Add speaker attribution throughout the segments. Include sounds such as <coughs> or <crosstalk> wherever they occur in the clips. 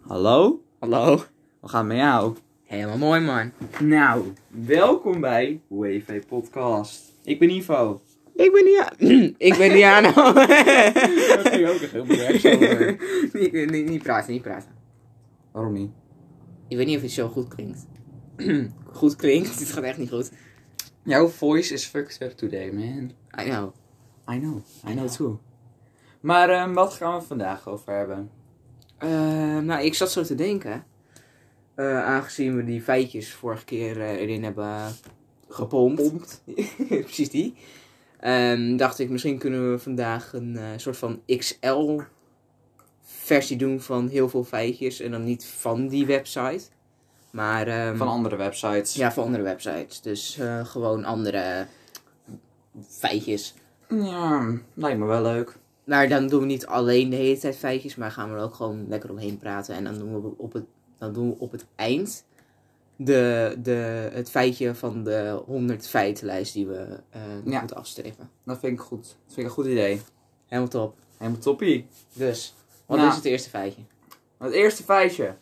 Speaker 1: Hallo?
Speaker 2: Hallo.
Speaker 1: We gaan met jou.
Speaker 2: Helemaal mooi, man.
Speaker 1: Nou, welkom bij WV Podcast. Ik ben Ivo.
Speaker 2: Ik ben Dia... <clears throat> ik ben Diana. <laughs>
Speaker 1: Dat ging ook echt heel bewerkt <laughs> over.
Speaker 2: niet, niet, niet praten, niet praten.
Speaker 1: Waarom niet?
Speaker 2: Ik weet niet of het zo goed klinkt. <clears throat> goed klinkt? <laughs> Het gaat echt niet goed.
Speaker 1: Jouw voice is fucked up today, man.
Speaker 2: I know.
Speaker 1: I know, I know too. Maar ehm, wat gaan we vandaag over hebben?
Speaker 2: Eh, nou, ik zat zo te denken. Eh, aangezien we die feitjes vorige keer eh, erin hebben gepompt. <laughs> Precies die. Ehm, dacht ik, misschien kunnen we vandaag een eh, soort van XL-versie doen van heel veel feitjes. En dan niet van die website. Maar ehm,
Speaker 1: Van andere websites.
Speaker 2: ja, van andere websites. Dus eh, gewoon andere feitjes.
Speaker 1: Ja, hm, lijkt me wel leuk.
Speaker 2: Maar dan doen we niet alleen de hele tijd feitjes, maar gaan we er ook gewoon lekker omheen praten. En dan doen we op het, dan doen we op het eind de, de, het feitje van de 100 feitenlijst die we eh, nog
Speaker 1: Ja.
Speaker 2: moeten afstreven.
Speaker 1: Dat vind ik goed. Dat vind ik een goed idee.
Speaker 2: Helemaal top.
Speaker 1: Helemaal toppie.
Speaker 2: Dus, wat
Speaker 1: Nou.
Speaker 2: is het eerste feitje?
Speaker 1: Het eerste feitje.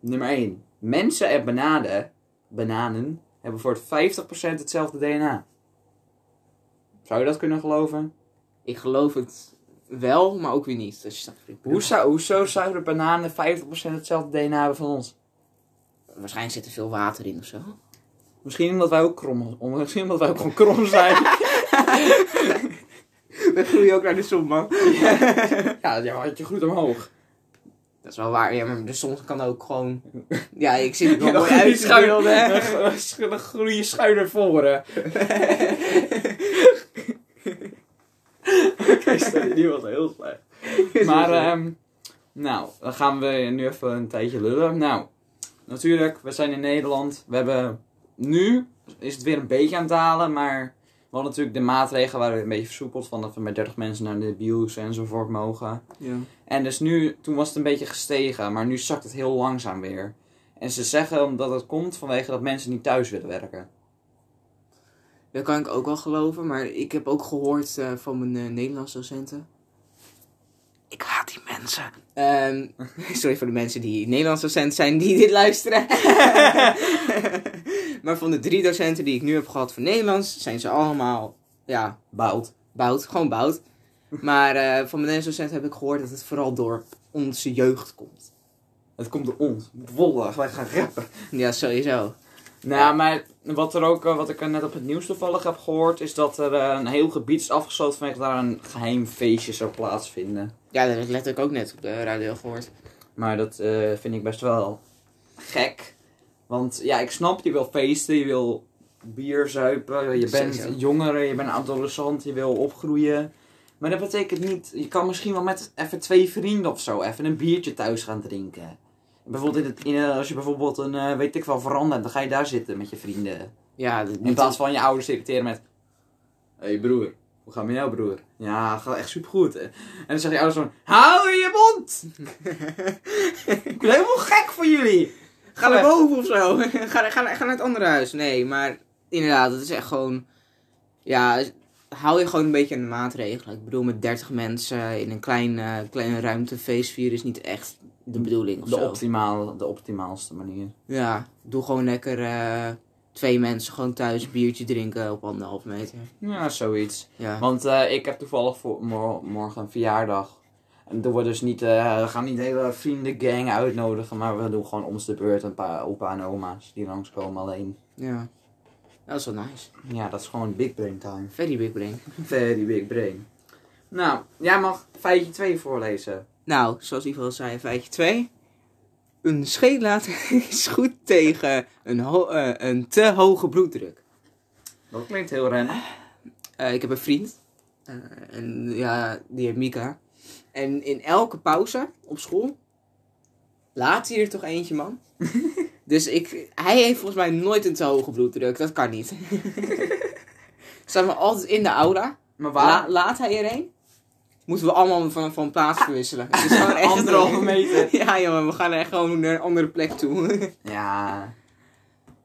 Speaker 1: Nummer 1. Mensen en bananen, bananen hebben voor het 50% hetzelfde DNA. Zou je dat kunnen geloven?
Speaker 2: Ik geloof het wel, maar ook weer niet. Dus dat vind ik-
Speaker 1: Hoe zou, hoezo zouden bananen 50% hetzelfde DNA hebben van ons?
Speaker 2: Waarschijnlijk zit er veel water in of <laughs> zo.
Speaker 1: Misschien omdat wij ook krom, om- <laughs> misschien omdat wij ook gewoon krom zijn.
Speaker 2: We groeien ook naar de zon, man.
Speaker 1: <laughs> ja, je had je goed omhoog.
Speaker 2: Dat is wel waar, ja, maar de zon kan ook <laughs> gewoon... Ja, ik zie het wel
Speaker 1: Dan
Speaker 2: mooi
Speaker 1: groei je
Speaker 2: uit.
Speaker 1: schuin,
Speaker 2: bedoel, hè.
Speaker 1: <laughs> dan sch- dan groei je schuin naar
Speaker 2: <laughs>
Speaker 1: voren. Oké, sorry, die was heel slecht. Maar, ehm, nou, dan gaan we nu even een tijdje lullen. Nou, natuurlijk, we zijn in Nederland. We hebben nu, is het weer een beetje aan het dalen, maar we hadden natuurlijk de maatregelen waren weer een beetje versoepeld. Van dat we met 30 mensen naar de bios enzovoort mogen.
Speaker 2: Ja.
Speaker 1: En dus nu, toen was het een beetje gestegen, maar nu zakt het heel langzaam weer. En ze zeggen omdat het komt vanwege dat mensen niet thuis willen werken.
Speaker 2: Dat kan ik ook wel geloven, maar ik heb ook gehoord eh, van mijn eh, Nederlandse docenten. Ik haat die mensen. Ehm, <laughs> sorry voor de mensen die Nederlands docent zijn die dit luisteren. <laughs> maar van de drie docenten die ik nu heb gehad voor Nederlands, zijn ze allemaal, ja,
Speaker 1: Bout.
Speaker 2: bout. Gewoon bout. Maar eh, van mijn Nederlands docent heb ik gehoord dat het vooral door onze jeugd komt.
Speaker 1: Het komt door ons. Wollig, wij gaan rappen.
Speaker 2: Ja, sowieso.
Speaker 1: Nou, ja, maar wat, er ook, eh, wat ik eh, net op het nieuws toevallig heb gehoord, is dat er eh, een heel gebied is afgesloten vanwege daar een geheim feestje zou plaatsvinden.
Speaker 2: Ja, dat heb ik letterlijk ook net op de radio gehoord.
Speaker 1: Maar dat eh, vind ik best wel gek. Want ja, ik snap, je wil feesten, je wil bier zuipen, je bent
Speaker 2: Sowieso.
Speaker 1: jongere, je bent adolescent, je wil opgroeien. Maar dat betekent niet, je kan misschien wel met even twee vrienden of zo even een biertje thuis gaan drinken. Bijvoorbeeld in het, in, eh, als je bijvoorbeeld een, eh, weet ik wel, veranda hebt, dan ga je daar zitten met je vrienden.
Speaker 2: Ja, dat
Speaker 1: In plaats van je ouders irriteren met... Hé hey broer, hoe gaat het met jou broer? Ja, gaat echt supergoed. En dan zeggen je ouders van... Hou je
Speaker 2: <laughs>
Speaker 1: mond! Ik ben helemaal gek voor jullie!
Speaker 2: Ga naar boven of zo. <laughs> ga, ga, ga naar het andere huis. Nee, maar inderdaad, het is echt gewoon. Ja, hou je gewoon een beetje aan de maatregelen. Ik bedoel, met 30 mensen in een klein, eh, kleine ruimte feest vieren is niet echt de bedoeling of
Speaker 1: De,
Speaker 2: zo.
Speaker 1: optimaal, de optimaalste manier.
Speaker 2: Ja, doe gewoon lekker eh, twee mensen gewoon thuis biertje drinken op anderhalf meter.
Speaker 1: Ja, zoiets.
Speaker 2: Ja.
Speaker 1: Want eh, ik heb toevallig voor mor- morgen een verjaardag. En doen we dus niet... eh, we gaan niet de hele vriendengang uitnodigen. Maar we doen gewoon ons de beurt een paar opa en oma's die langskomen alleen.
Speaker 2: ja. Dat is wel nice.
Speaker 1: Ja, dat is gewoon big brain time.
Speaker 2: Very big brain.
Speaker 1: Very Eh, big brain. Nou, jij mag feitje 2 voorlezen.
Speaker 2: Nou, zoals Ivo al zei, feitje 2. Een scheetlater <laughs> is goed tegen een, ho- eh, een te hoge bloeddruk.
Speaker 1: Dat klinkt heel rennen.
Speaker 2: Eh, ik heb een vriend. Eh, en ja, die heet Mika. En in elke pauze op school laat hij er toch eentje, man.
Speaker 1: <laughs>
Speaker 2: dus ik, hij heeft volgens mij nooit een te hoge bloeddruk. Dat
Speaker 1: <laughs>
Speaker 2: kan niet. Staan we altijd in de aula.
Speaker 1: Maar
Speaker 2: La-
Speaker 1: waar?
Speaker 2: laat hij er een? Moeten we allemaal van, van plaats verwisselen. Het is
Speaker 1: <laughs>
Speaker 2: gewoon echt-
Speaker 1: Ah. Anderhalve meter.
Speaker 2: <laughs> Ja, jongen, we gaan echt gewoon naar een andere plek toe. <laughs>
Speaker 1: Ja.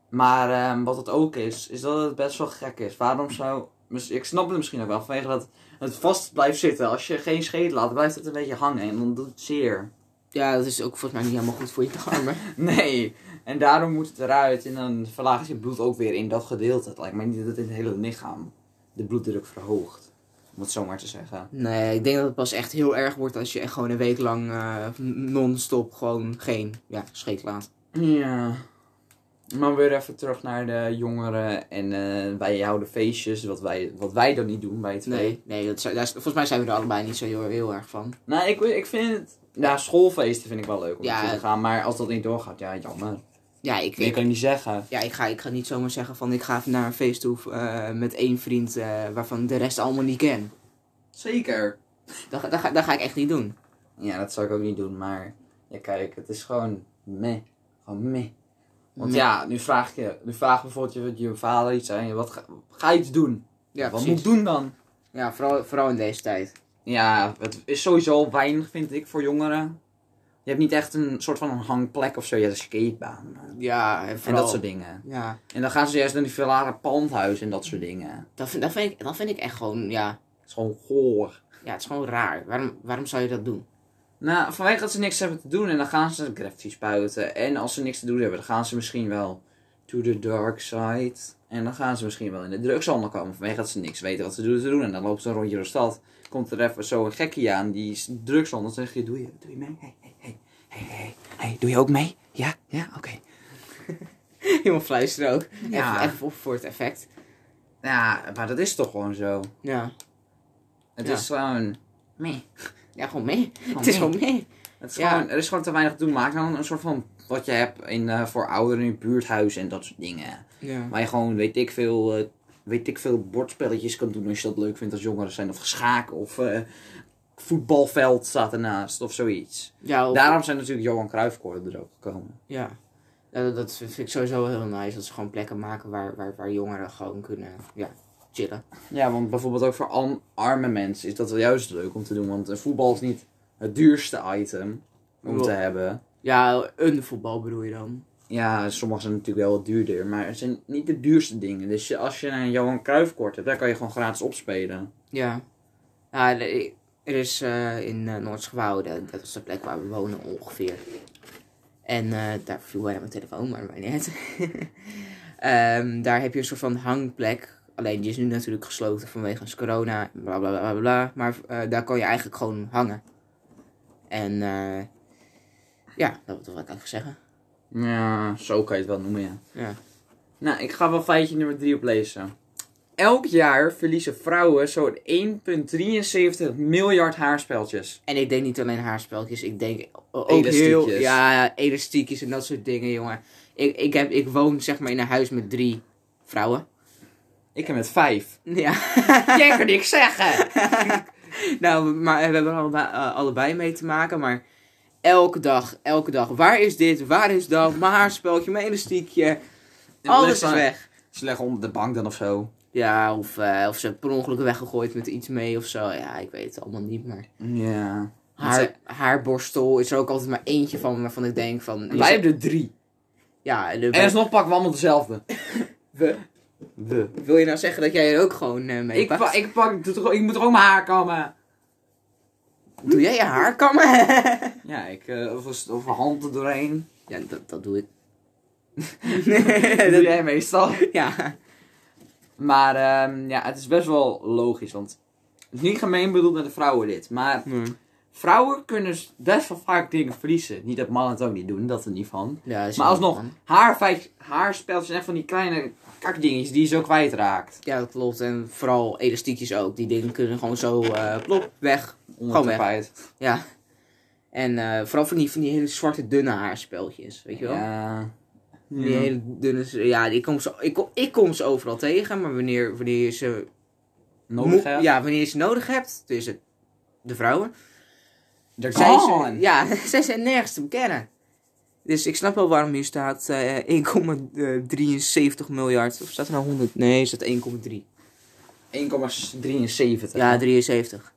Speaker 1: Maar ehm, wat het ook is, is dat het best wel gek is. Waarom zou... mis- Ik snap het misschien ook wel, vanwege dat het vast blijft zitten. Als je geen scheet laat, blijft het een beetje hangen en dan doet het zeer. <laughs>
Speaker 2: Ja, dat is ook volgens mij niet helemaal goed voor je darmen.
Speaker 1: Nee, en daarom moet het eruit. En dan verlaagt je bloed ook weer in dat gedeelte. Het lijkt mij niet dat het in het hele lichaam de bloeddruk verhoogt. Om het zo maar te zeggen.
Speaker 2: Nee, ik denk dat het pas echt heel erg wordt als je echt gewoon een week lang eh, non-stop gewoon geen ja, scheet laat.
Speaker 1: Ja. Maar weer even terug naar de jongeren. En eh, wij houden feestjes, wat wij, wat wij dan niet doen bij het twee.
Speaker 2: Nee, nee dat, zou- daar is- volgens mij zijn we er allebei niet zo heel, heel erg van.
Speaker 1: Nou, ik, ik vind het... Ja, schoolfeesten vind ik wel leuk om
Speaker 2: Ja.
Speaker 1: naartoe te gaan. Maar als dat niet doorgaat, ja, jammer.
Speaker 2: Ja, ik,
Speaker 1: Ik
Speaker 2: ik,
Speaker 1: kan niet zeggen.
Speaker 2: ja, ik, ga, ik ga niet zomaar zeggen van ik ga even naar een feest toe eh, met één vriend eh, waarvan ik de rest allemaal niet ken.
Speaker 1: Zeker.
Speaker 2: Dat, ga- dat, ga, dat ga ik echt niet doen.
Speaker 1: Ja, dat zou ik ook niet doen. Maar ja, kijk, het is gewoon meh. Gewoon meh. Want
Speaker 2: Meh.
Speaker 1: ja, nu vraag je... Nu vraagt bijvoorbeeld je, je vader iets aan je. Wat ga, ga je iets doen?
Speaker 2: Ja,
Speaker 1: wat
Speaker 2: precies.
Speaker 1: moet ik doen dan?
Speaker 2: Ja, vooral, vooral in deze tijd.
Speaker 1: Ja, het is sowieso weinig, vind ik, voor jongeren. Je hebt niet echt een soort van een hangplek of zo. Je hebt een skatebaan. eh,
Speaker 2: Ja, en
Speaker 1: En
Speaker 2: vooral...
Speaker 1: dat soort dingen.
Speaker 2: Ja,
Speaker 1: En dan gaan ze juist naar die verlare pandhuis en dat soort dingen.
Speaker 2: dat vind, dat, vind ik, dat vind ik echt gewoon, ja...
Speaker 1: Het is gewoon goor.
Speaker 2: Ja, het is gewoon raar. Waarom, waarom zou je dat doen? <laughs>
Speaker 1: Nou, vanwege dat ze niks hebben te doen en dan gaan ze graffiti spuiten. En als ze niks te doen hebben, dan gaan ze misschien wel to the dark side. En dan gaan ze misschien wel in de drugshandel komen. Vanwege dat ze niks weten wat ze doen te doen. En dan lopen ze een rondje door de stad. Komt er even zo'n gekkie aan, die s- drugshandel. Dan zeg je, doe je, doe je mee? Hey, hey, hey. Hey, hey, hey. Doe je ook mee? Ja? Ja? Oké.
Speaker 2: Helemaal fluisteren ook.
Speaker 1: Ja.
Speaker 2: Even, even op voor het effect.
Speaker 1: Ja, maar dat is toch gewoon zo.
Speaker 2: Ja.
Speaker 1: Het
Speaker 2: Ja.
Speaker 1: is gewoon... Meh.
Speaker 2: Ja, gewoon mee. <laughs> het
Speaker 1: meh.
Speaker 2: is gewoon mee.
Speaker 1: Het is
Speaker 2: Ja.
Speaker 1: gewoon, er is gewoon te weinig te doen. Maak dan een soort van wat je hebt in, eh, voor ouderen in je buurthuis en dat soort dingen.
Speaker 2: Ja.
Speaker 1: Waar je gewoon, weet ik veel, eh, weet ik veel bordspelletjes kan doen als je dat leuk vindt als jongeren zijn. Of schaak of eh, voetbalveld staat ernaast of zoiets.
Speaker 2: Ja, of-
Speaker 1: Daarom zijn natuurlijk Johan Cruijffkoorden er ook gekomen.
Speaker 2: ja. Ja, dat, dat vind ik sowieso heel nice. Dat ze gewoon plekken maken waar, waar, waar jongeren gewoon kunnen ja, chillen.
Speaker 1: Ja, want bijvoorbeeld ook voor an- arme mensen is dat wel juist leuk om te doen. Want eh, voetbal is niet het duurste item om te
Speaker 2: Wel.
Speaker 1: hebben.
Speaker 2: Ja, een voetbal bedoel je dan?
Speaker 1: Ja, sommige zijn natuurlijk wel wat duurder, maar het zijn niet de duurste dingen. Dus je- als je een Johan Cruijffkort hebt, daar kan je gewoon gratis opspelen.
Speaker 2: Ja. Ja, er er is eh, in eh Noordschwoude, dat is de plek waar we wonen ongeveer. En eh, daar viel bijna mijn telefoon, maar mij net. <laughs> Ehm, daar heb je een soort van hangplek. Alleen die is nu natuurlijk gesloten vanwege corona, bla bla bla bla. bla. Maar eh, daar kan je eigenlijk gewoon hangen. En eh, ja, dat wil ik eigenlijk zeggen.
Speaker 1: Ja, zo kan je het wel noemen, ja.
Speaker 2: Ja.
Speaker 1: Nou, ik ga wel feitje nummer 3 oplezen. Elk jaar verliezen vrouwen zo'n 1,73 miljard haarspeltjes.
Speaker 2: En ik denk niet alleen haarspeltjes, ik denk ook
Speaker 1: Elastiekjes.
Speaker 2: heel... Ja, elastiekjes en dat soort dingen, jongen. Ik, ik, heb, ik woon zeg maar in een huis met drie vrouwen. <laughs>
Speaker 1: Ik heb met vijf.
Speaker 2: Ja.
Speaker 1: Jij kan niks zeggen!
Speaker 2: nou, maar we hebben er allebei, eh, allebei mee te maken, maar... Elke dag, elke dag. Waar is dit? Waar is dat? Mijn haarspeltje, mijn elastiekje. Alles is weg.
Speaker 1: Ze leggen onder de bank dan of zo.
Speaker 2: Ja, of, eh, of ze per ongeluk weggegooid met iets mee of zo. Ja, ik weet het allemaal niet, maar...
Speaker 1: Ja.
Speaker 2: Haar, haarborstel is er ook altijd maar eentje van waarvan ik denk van...
Speaker 1: Wij hebben er drie.
Speaker 2: Ja, en dan
Speaker 1: En alsnog pakken we allemaal dezelfde.
Speaker 2: We-
Speaker 1: <coughs> We.
Speaker 2: Wil je nou zeggen dat jij er ook gewoon eh, mee
Speaker 1: Ik,
Speaker 2: pakt?
Speaker 1: pa- ik, pak, ik moet er ook mijn haar kammen.
Speaker 2: Doe jij je haar kammen? <laughs>
Speaker 1: Ja, ik, eh, of, als- of handen <laughs> doorheen.
Speaker 2: ja, dat, dat doe ik.
Speaker 1: Dat doe jij meestal.
Speaker 2: ja.
Speaker 1: Maar ehm, ja, het is best wel logisch, want het is niet gemeen bedoeld met de vrouwen dit. Maar vrouwen kunnen s- best wel vaak dingen verliezen. Niet dat mannen het ook niet doen, dat er niet van.
Speaker 2: ja dat is
Speaker 1: Maar
Speaker 2: wel
Speaker 1: alsnog,
Speaker 2: man.
Speaker 1: haarfeit- haarspeltjes zijn echt van die kleine kakdingetjes die je zo kwijtraakt.
Speaker 2: Ja, dat klopt. En vooral elastiekjes ook. Die dingen kunnen gewoon zo eh plop, weg.
Speaker 1: Onder
Speaker 2: Gewoon
Speaker 1: het
Speaker 2: weg.
Speaker 1: tapijt.
Speaker 2: Ja. En eh, vooral van die, van die hele zwarte dunne haarspeltjes, weet je wel?
Speaker 1: Ja.
Speaker 2: Die
Speaker 1: Ja.
Speaker 2: hele dunne... Ja, die kom ze, ik, kom, ik kom ze overal tegen. Maar wanneer, wanneer je ze
Speaker 1: Nodig
Speaker 2: Mo-
Speaker 1: hebt.
Speaker 2: Ja, wanneer je ze nodig hebt, dus het, de vrouwen.
Speaker 1: They're
Speaker 2: Zij
Speaker 1: gone.
Speaker 2: ze, ja, <laughs> zij zijn nergens te bekennen. Dus ik snap wel waarom hier staat eh, 1,73 miljard. Of staat er nou 100? Nee, er staat 1,3.
Speaker 1: 1,73.
Speaker 2: Ja, 73.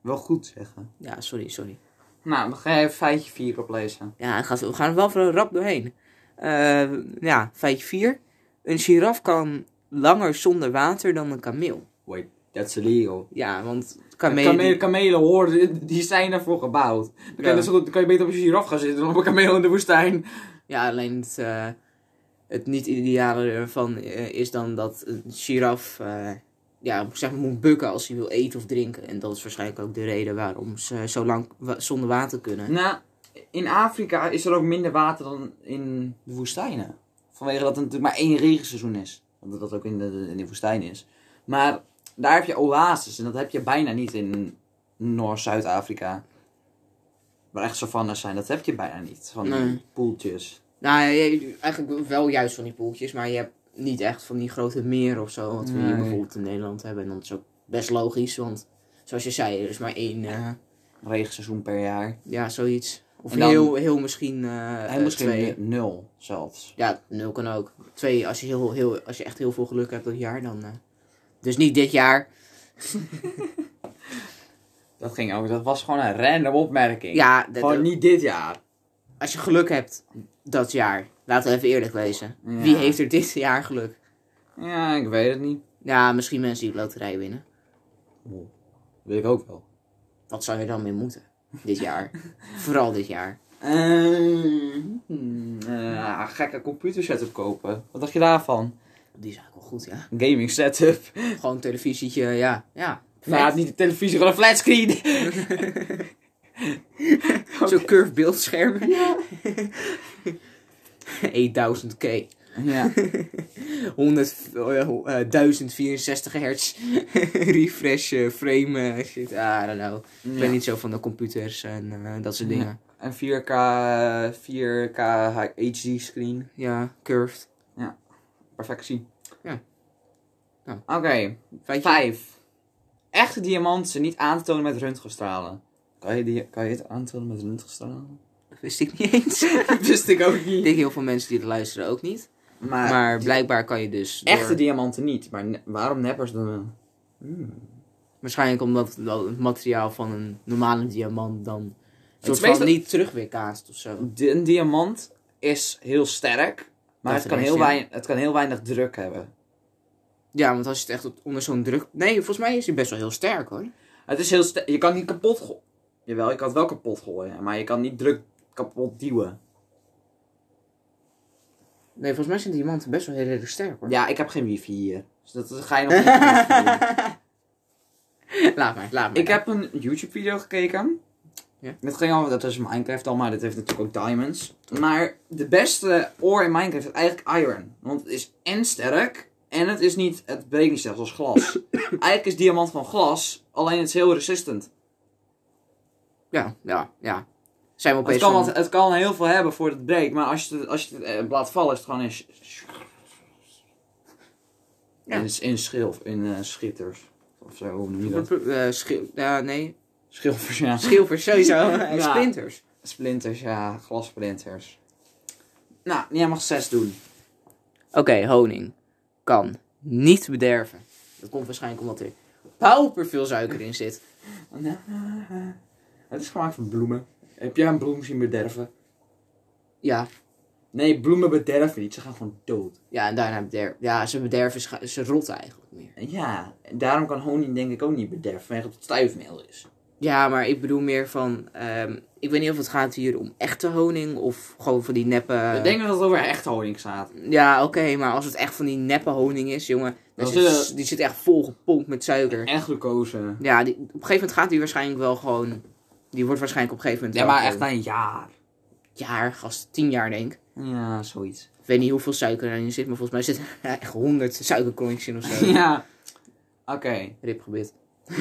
Speaker 1: Wel goed zeggen.
Speaker 2: Ja, sorry, sorry.
Speaker 1: Nou, dan ga je feitje 4 oplezen.
Speaker 2: Ja, het gaat, we gaan er wel voor een rap doorheen. Eh, ja, feitje 4. Een giraf kan langer zonder water dan een kameel.
Speaker 1: Wait,
Speaker 3: That's illegal.
Speaker 2: Ja, want
Speaker 1: Kamelen,
Speaker 2: kamelen...
Speaker 1: kamelen horen, die zijn ervoor gebouwd. Dan kan, je
Speaker 2: Ja.
Speaker 1: net zo goed, dan kan je beter op een giraf gaan zitten dan op een kameel in de woestijn.
Speaker 2: Ja, alleen het, eh, het niet-ideale ervan eh, is dan dat een giraf eh, ja, zeg maar, moet bukken als hij wil eten of drinken. En dat is waarschijnlijk ook de reden waarom ze zo lang wa- zonder water kunnen.
Speaker 1: Nou, in Afrika is er ook minder water dan in de woestijnen. Vanwege dat er natuurlijk maar één regenseizoen is. Omdat dat ook in de, in de woestijn is. Maar daar heb je oases en dat heb je bijna niet in Noord-Zuid-Afrika. Waar echt savannes zijn, dat heb je bijna niet. Van die
Speaker 2: Nee.
Speaker 1: poeltjes.
Speaker 2: Nou, je- eigenlijk wel juist van die poeltjes, maar je hebt niet echt van die grote meren of zo. Wat we
Speaker 1: Nee.
Speaker 2: hier bijvoorbeeld in Nederland hebben. En dat is ook best logisch, want zoals je zei, er is maar één, eh,
Speaker 1: Regenseizoen per jaar.
Speaker 2: ja, zoiets. Of
Speaker 1: En dan-
Speaker 2: heel, heel misschien, eh
Speaker 1: En
Speaker 2: eh,
Speaker 1: misschien
Speaker 2: twee.
Speaker 1: nu- nul zelfs.
Speaker 2: Ja, nul kan ook. Twee, als je, heel, heel, als je echt heel veel geluk hebt dat jaar, dan... eh, dus niet dit jaar.
Speaker 1: Dat ging ook, dat was gewoon een random opmerking.
Speaker 2: Ja, dat-
Speaker 1: Gewoon niet dit jaar.
Speaker 2: als je geluk hebt dat jaar. Laten we even eerlijk wezen.
Speaker 1: Ja.
Speaker 2: Wie heeft er dit jaar geluk?
Speaker 1: Ja, ik weet het niet.
Speaker 2: Ja, misschien mensen die loterij winnen.
Speaker 1: Oeh, Weet ik ook wel.
Speaker 2: Wat zou je dan mee moeten? Dit
Speaker 1: <laughs>
Speaker 2: jaar. Vooral dit jaar.
Speaker 1: Eh, hmm, eh, gekke computer setup kopen. Wat dacht je daarvan?
Speaker 2: Die is eigenlijk wel goed, ja.
Speaker 1: Gaming setup.
Speaker 2: Gewoon een televisietje, ja. Ja.
Speaker 1: Nou,
Speaker 2: Vet.
Speaker 1: niet de televisie, gewoon een flatscreen. <laughs>
Speaker 2: Zo'n curve beeldscherm. <laughs> Ja. 8000k.
Speaker 1: ja.
Speaker 2: 100, eh, ho- eh, 1064 hertz <laughs> refresh eh, frame eh, shit. I don't know. Ik ben
Speaker 1: Ja.
Speaker 2: niet zo van de computers en eh, dat soort
Speaker 1: Ja.
Speaker 2: dingen.
Speaker 1: Een 4K, 4K HD screen.
Speaker 2: Ja, curved.
Speaker 1: Perfectie.
Speaker 2: Ja. Nou.
Speaker 1: Oké,
Speaker 2: Feitje.
Speaker 1: vijf. Echte diamanten zijn niet aan te tonen met röntgenstralen. Kan je, die, kan je het aantonen met <laughs> röntgenstralen?
Speaker 2: Wist ik niet eens. <laughs>
Speaker 1: Dat wist ik ook
Speaker 2: ik
Speaker 1: niet.
Speaker 2: denk heel veel mensen die het luisteren ook niet.
Speaker 1: Maar,
Speaker 2: maar blijkbaar kan je dus. door-
Speaker 1: echte diamanten niet. Maar ne- waarom neppers dan? Hmm.
Speaker 2: waarschijnlijk omdat wel het materiaal van een normale diamant dan. een soort van
Speaker 1: meestal-
Speaker 2: niet terug weer kaatst of zo.
Speaker 1: Di- een diamant is heel sterk, maar
Speaker 2: Dat
Speaker 1: het kan
Speaker 2: is,
Speaker 1: heel,
Speaker 2: ja.
Speaker 1: weinig, het kan heel weinig druk hebben.
Speaker 2: Ja, want als je het echt op- onder zo'n druk. Nee, volgens mij is hij best wel heel sterk hoor.
Speaker 1: Het is heel sterk. Je kan niet kapot gooien. Jawel, je kan het wel kapot gooien, maar je kan niet druk kapot duwen.
Speaker 2: Nee, volgens mij zijn diamanten best wel heel erg sterk hoor.
Speaker 1: Ja, ik heb geen wifi hier. Dus dat ga je nog niet
Speaker 2: <laughs>
Speaker 1: wifi doen.
Speaker 2: laat maar, laat maar.
Speaker 1: Ik heb een YouTube video gekeken.
Speaker 2: Ja?
Speaker 1: Dat ging over, dat is Minecraft al, maar dat heeft natuurlijk ook diamonds. Maar de beste ore in Minecraft is eigenlijk iron. Want het is en sterk, en het is niet, het breekt niet zelfs als
Speaker 2: <coughs>
Speaker 1: glas. eigenlijk is diamant van glas, alleen het is heel resistant.
Speaker 2: Ja, ja, ja. Zijn we
Speaker 1: Het
Speaker 2: opeens.
Speaker 1: kan,
Speaker 2: van-
Speaker 1: wat, het kan heel veel hebben voor het breekt, maar als je het, als je het eh, laat vallen is het gewoon in, sch- sch-
Speaker 2: Ja.
Speaker 1: in, in schilf, in eh, schitters. Of zo, hoe noem je dat?
Speaker 2: Eh, schil, ja, nee,
Speaker 1: Schilfers, ja.
Speaker 2: schilvers <laughs> sowieso. En
Speaker 1: Ja.
Speaker 2: Splinters.
Speaker 1: Splinters, ja, glasplinters. Nou, jij mag zes doen.
Speaker 2: Oké, honing kan niet bederven. Dat komt waarschijnlijk omdat er pauper veel suiker in zit.
Speaker 1: Het is gemaakt van bloemen. Heb jij een bloem zien bederven?
Speaker 2: Ja,
Speaker 1: Nee, bloemen bederven niet, ze gaan gewoon dood.
Speaker 2: ja en daarna bederven. Ja, ze bederven, scha- ze rotten eigenlijk meer.
Speaker 1: En ja, daarom kan honing denk ik ook niet bederven, vanwege dat het stuifmeel is.
Speaker 2: Ja, maar ik bedoel meer van. ehm, ik weet niet of het gaat hier om echte honing of gewoon van die neppe.
Speaker 1: Ik denk dat het over echt honing gaat.
Speaker 2: Ja, oké, maar als het echt van die neppe honing is, jongen. Dan
Speaker 1: Dat
Speaker 2: zit,
Speaker 1: is,
Speaker 2: Die zit echt vol gepompt met suiker.
Speaker 1: En glucose.
Speaker 2: Ja, die, op een gegeven moment gaat die waarschijnlijk wel gewoon. Die wordt waarschijnlijk op een gegeven
Speaker 1: Ja,
Speaker 2: moment.
Speaker 1: maar
Speaker 2: wel
Speaker 1: echt na een jaar.
Speaker 2: gewoon Jaar, gast, tien jaar denk ik.
Speaker 1: Ja, zoiets.
Speaker 2: Ik weet niet hoeveel suiker erin zit, maar volgens mij zit <laughs> er echt honderd suikerklontjes in of zo.
Speaker 1: <laughs> <laughs> ja. Oké,
Speaker 2: Rip gebit.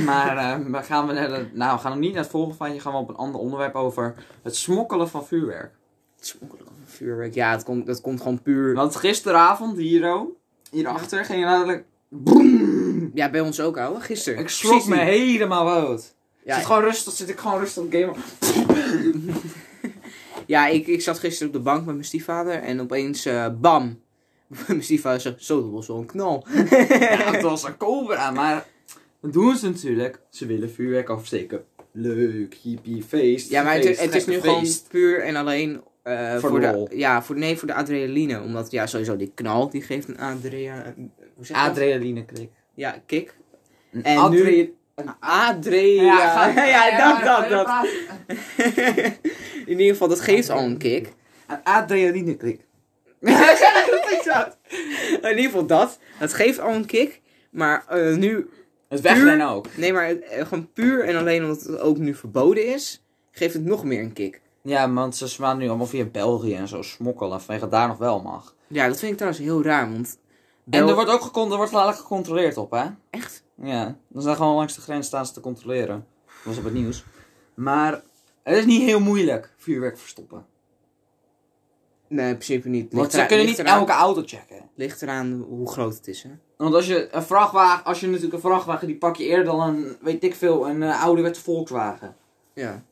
Speaker 1: maar eh, we gaan we naar de, nou, we gaan nog niet naar het volgende van je, gaan we op een ander onderwerp over het smokkelen van vuurwerk.
Speaker 2: Het is ongelooflijk een vuurwerk. Ja, het komt, dat komt gewoon puur.
Speaker 1: Want gisteravond hier, oh, hierachter, ging je namelijk... Boem!
Speaker 2: Ja, bij ons ook, ouwe. Gisteren.
Speaker 1: Ik schrok me
Speaker 2: Precies die-
Speaker 1: helemaal rood.
Speaker 2: Ja,
Speaker 1: Zit gewoon rustig, zit ik gewoon rustig op gamen.
Speaker 2: Ja, ik, ik zat gisteren op de bank met mijn stiefvader en opeens eh, bam. <laughs> mijn stiefvader zegt, zo, dat was wel een knal.
Speaker 1: Ja, het was een cobra, maar dat doen ze natuurlijk. Ze willen vuurwerk afsteken. Leuk, hippie, feest.
Speaker 2: Ja, maar het,
Speaker 1: feest,
Speaker 2: het is nu
Speaker 1: gekke
Speaker 2: gewoon
Speaker 1: feest.
Speaker 2: puur en alleen eh,
Speaker 1: Voor
Speaker 2: voor,
Speaker 1: de
Speaker 2: de,
Speaker 1: lol.
Speaker 2: ja, voor, nee, voor de adrenaline. Omdat ja, sowieso die knal, die geeft een adrea, hoe zeg je dat?
Speaker 1: Adrenaline krik.
Speaker 2: Ja, kick. En nu... Een Adria.
Speaker 3: Ja,
Speaker 2: <laughs> Ja, dat, dat, dat. <laughs> In ieder geval, dat geeft al een
Speaker 1: <laughs>
Speaker 2: kick.
Speaker 1: Een adrenaline
Speaker 2: In ieder geval dat. Dat geeft al een kick. Maar eh, nu...
Speaker 1: Het
Speaker 2: Puur?
Speaker 1: wegrennen ook.
Speaker 2: Nee, maar eh, gewoon puur en alleen omdat het ook nu verboden is... geeft het nog meer een kick.
Speaker 1: Ja, want ze slaan nu allemaal via België en zo smokkelen. Vanwege daar nog wel mag.
Speaker 2: Ja, dat vind ik trouwens heel raar, want...
Speaker 1: En
Speaker 2: Bel-
Speaker 1: er wordt ook gecon- er wordt later gecontroleerd op, hè?
Speaker 2: Echt?
Speaker 1: Ja, dan zijn gewoon langs de grens staan ze te controleren. Dat was op het nieuws. Maar het is niet heel moeilijk vuurwerk verstoppen.
Speaker 2: Nee, in principe niet.
Speaker 1: Want
Speaker 2: Ligt
Speaker 1: ze
Speaker 2: eraan-
Speaker 1: kunnen
Speaker 2: ligt
Speaker 1: niet
Speaker 2: eraan-
Speaker 1: elke auto checken.
Speaker 2: Ligt eraan hoe groot het is, hè.
Speaker 1: Want als je een vrachtwagen, als je natuurlijk een vrachtwagen, die pak je eerder dan een, weet ik veel, een oude ouderwetse Volkswagen.
Speaker 2: Ja.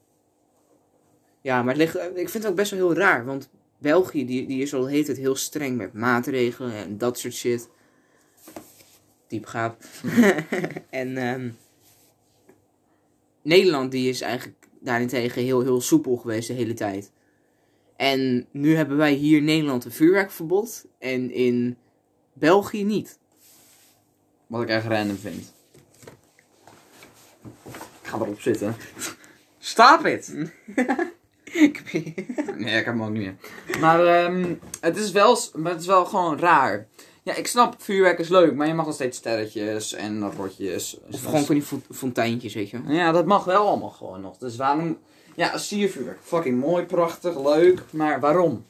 Speaker 2: Ja, maar het ligt, eh, ik vind het ook best wel heel raar. Want België die, die is al heet het heel streng met maatregelen en dat soort shit. Diep gaap. <laughs> en ehm, Nederland die is eigenlijk daarentegen heel, heel soepel geweest de hele tijd. En nu hebben wij hier in Nederland een vuurwerkverbod. En in België niet. <laughs>
Speaker 1: Wat ik echt random vind. Ik ga erop zitten. Stop it! Nee, ik heb hem ook niet meer. Maar ehm, het, is wel, s- maar het is wel gewoon raar. Ja, ik snap, vuurwerk is leuk, maar je mag nog steeds sterretjes en rotjes.
Speaker 2: of gewoon van die fo- fonteintjes, weet je wel.
Speaker 1: Ja, dat mag wel allemaal gewoon nog. Dus waarom... Ja, siervuurwerk. Fucking mooi, prachtig, leuk. Maar waarom?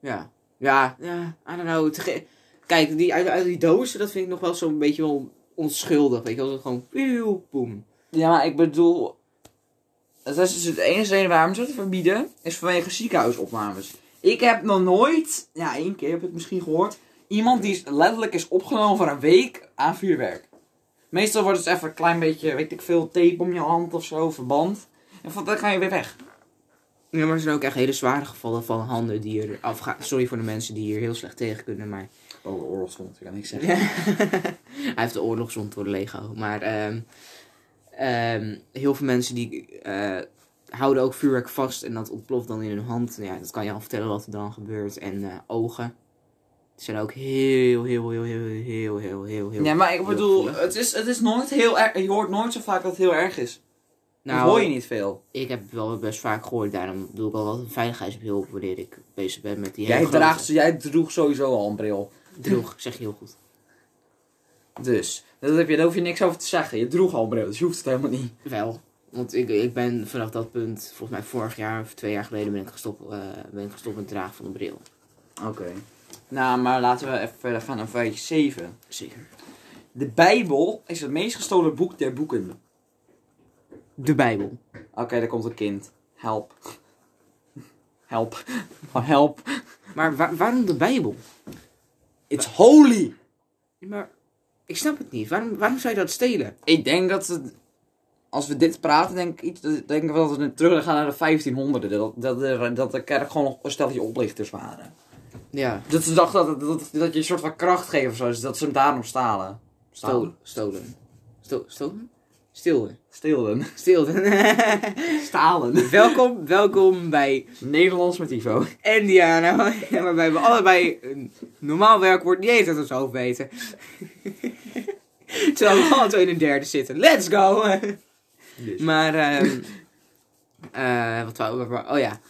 Speaker 2: Ja. Ja, ja, I don't know. Het ge- Kijk, die, uit, uit die dozen, dat vind ik nog wel zo'n beetje wel onschuldig. Weet je wel, dat gewoon pieuw, boem.
Speaker 1: Ja, maar ik bedoel... Dat is dus het enige reden waarom ze het verbieden. Is vanwege ziekenhuisopnames. Ik heb nog nooit... Ja, één keer heb ik het misschien gehoord. Iemand die is- letterlijk is opgenomen voor een week aan vuurwerk. Meestal wordt het dus even een klein beetje, weet ik veel, tape om je hand of zo, verband. En van, dan ga je weer weg.
Speaker 2: Ja, maar er zijn ook echt hele zware gevallen van handen die er afgaan. Sorry voor de mensen die hier heel slecht tegen kunnen, maar... <laughs>
Speaker 1: Oh, oorlogsgrond, ik kan niks zeggen.
Speaker 2: Hij heeft de oorlogswond door Lego. Maar ehm, ehm, heel veel mensen die eh, houden ook vuurwerk vast en dat ontploft dan in hun hand. Nou Ja, dat kan je al vertellen wat er dan gebeurt. En eh, ogen. Die zijn ook heel, heel, heel, heel, heel, heel, heel, heel...
Speaker 1: Ja, maar ik
Speaker 2: heel
Speaker 1: bedoel,
Speaker 2: gevoelig.
Speaker 1: het is, het is nooit heel erg. Je hoort nooit zo vaak dat het heel erg is. dat hoor je niet veel.
Speaker 2: Nou, Ik heb wel best vaak gehoord, daarom doe ik al wat een veiligheidsbril op wanneer ik bezig ben met die
Speaker 1: jij,
Speaker 2: hele grote-
Speaker 1: draagt, jij droeg sowieso al een bril.
Speaker 2: Droeg, zeg je heel goed.
Speaker 1: Dus, dat heb je, daar hoef je niks over te zeggen. Je droeg al een bril, dus je hoeft het helemaal niet.
Speaker 2: Wel, want ik, ik ben vanaf dat punt, volgens mij vorig jaar of twee jaar geleden, ben ik gestopt, eh, ben ik gestopt met het dragen van een bril.
Speaker 1: Oké. Nou, maar laten we even verder gaan naar feitje 7.
Speaker 2: Zeker.
Speaker 1: De Bijbel is het meest gestolen boek der boeken.
Speaker 2: De Bijbel.
Speaker 1: Oké, daar komt een kind. Help. Help. <laughs> Help.
Speaker 2: Maar wa- waarom de Bijbel?
Speaker 1: It's holy.
Speaker 2: Maar ik snap het niet. Waarom, waarom zou je dat stelen?
Speaker 1: Ik denk dat het, als we dit praten, denk ik iets, denk ik wel dat we terug gaan naar de 1500. Dat, dat, de, dat de kerk gewoon nog een steltje oplichters waren.
Speaker 2: Ja,
Speaker 1: Dat ze dachten dat, dat, dat je een soort van kracht geeft of zo, dus dat ze hem daarom stalen.
Speaker 2: stolen. Stolen. Sto- stolen? <laughs> Stilden.
Speaker 1: <laughs> Steelden.
Speaker 2: Stilden.
Speaker 1: Stalen.
Speaker 2: welkom, welkom bij
Speaker 1: Nederlands met Ivo.
Speaker 2: en Diana, <laughs> waarbij we allebei een normaal werkwoord niet eens uit ons hoofd weten. <laughs> Terwijl we alle twee in een derde zitten. Let's go! <laughs> Maar, ehm eh, wat wou waar- waar- Oh ja.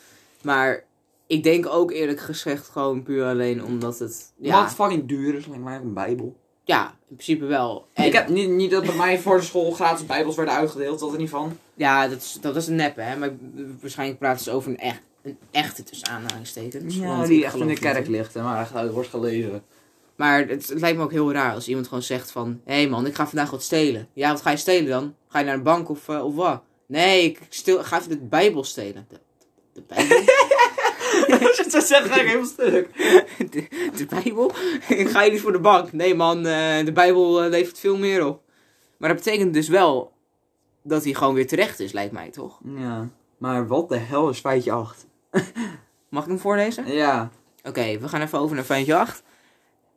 Speaker 2: Maar ik denk ook eerlijk gezegd gewoon puur alleen omdat het...
Speaker 1: Ja.
Speaker 2: Ja,
Speaker 1: Wat fucking duur is, lijkt mij ook een bijbel.
Speaker 2: ja in principe wel. En-
Speaker 1: Ik heb niet, niet dat bij mij voor de school gratis bijbels werden uitgedeeld, dat er niet van.
Speaker 2: Ja, dat, is, dat was een neppe, hè. Maar ik- waarschijnlijk praten ze over een, echt, een echte tussen aanhalingstekens. want ik geloof niet in-
Speaker 1: ligt en waar het wordt <laughs> gelezen.
Speaker 2: Maar het, het lijkt me ook heel raar als iemand gewoon zegt van... Hé hey man, ik ga vandaag wat stelen. Ja, wat ga je stelen dan? Ga je naar de bank of, eh, of wat? Nee, ik stil, ga even de Bijbel stelen. De, de Bijbel?
Speaker 1: Als je het zo zegt, ga ik helemaal stuk.
Speaker 2: de, de Bijbel? <laughs> ik ga je niet voor de bank. Nee man, eh, de Bijbel eh, levert veel meer op. Maar dat betekent dus wel dat hij gewoon weer terecht is, lijkt mij toch?
Speaker 1: Ja, maar wat de hel is feitje 8?
Speaker 2: Mag ik hem voorlezen?
Speaker 1: Ja.
Speaker 2: Oké, we gaan even over naar feitje 8.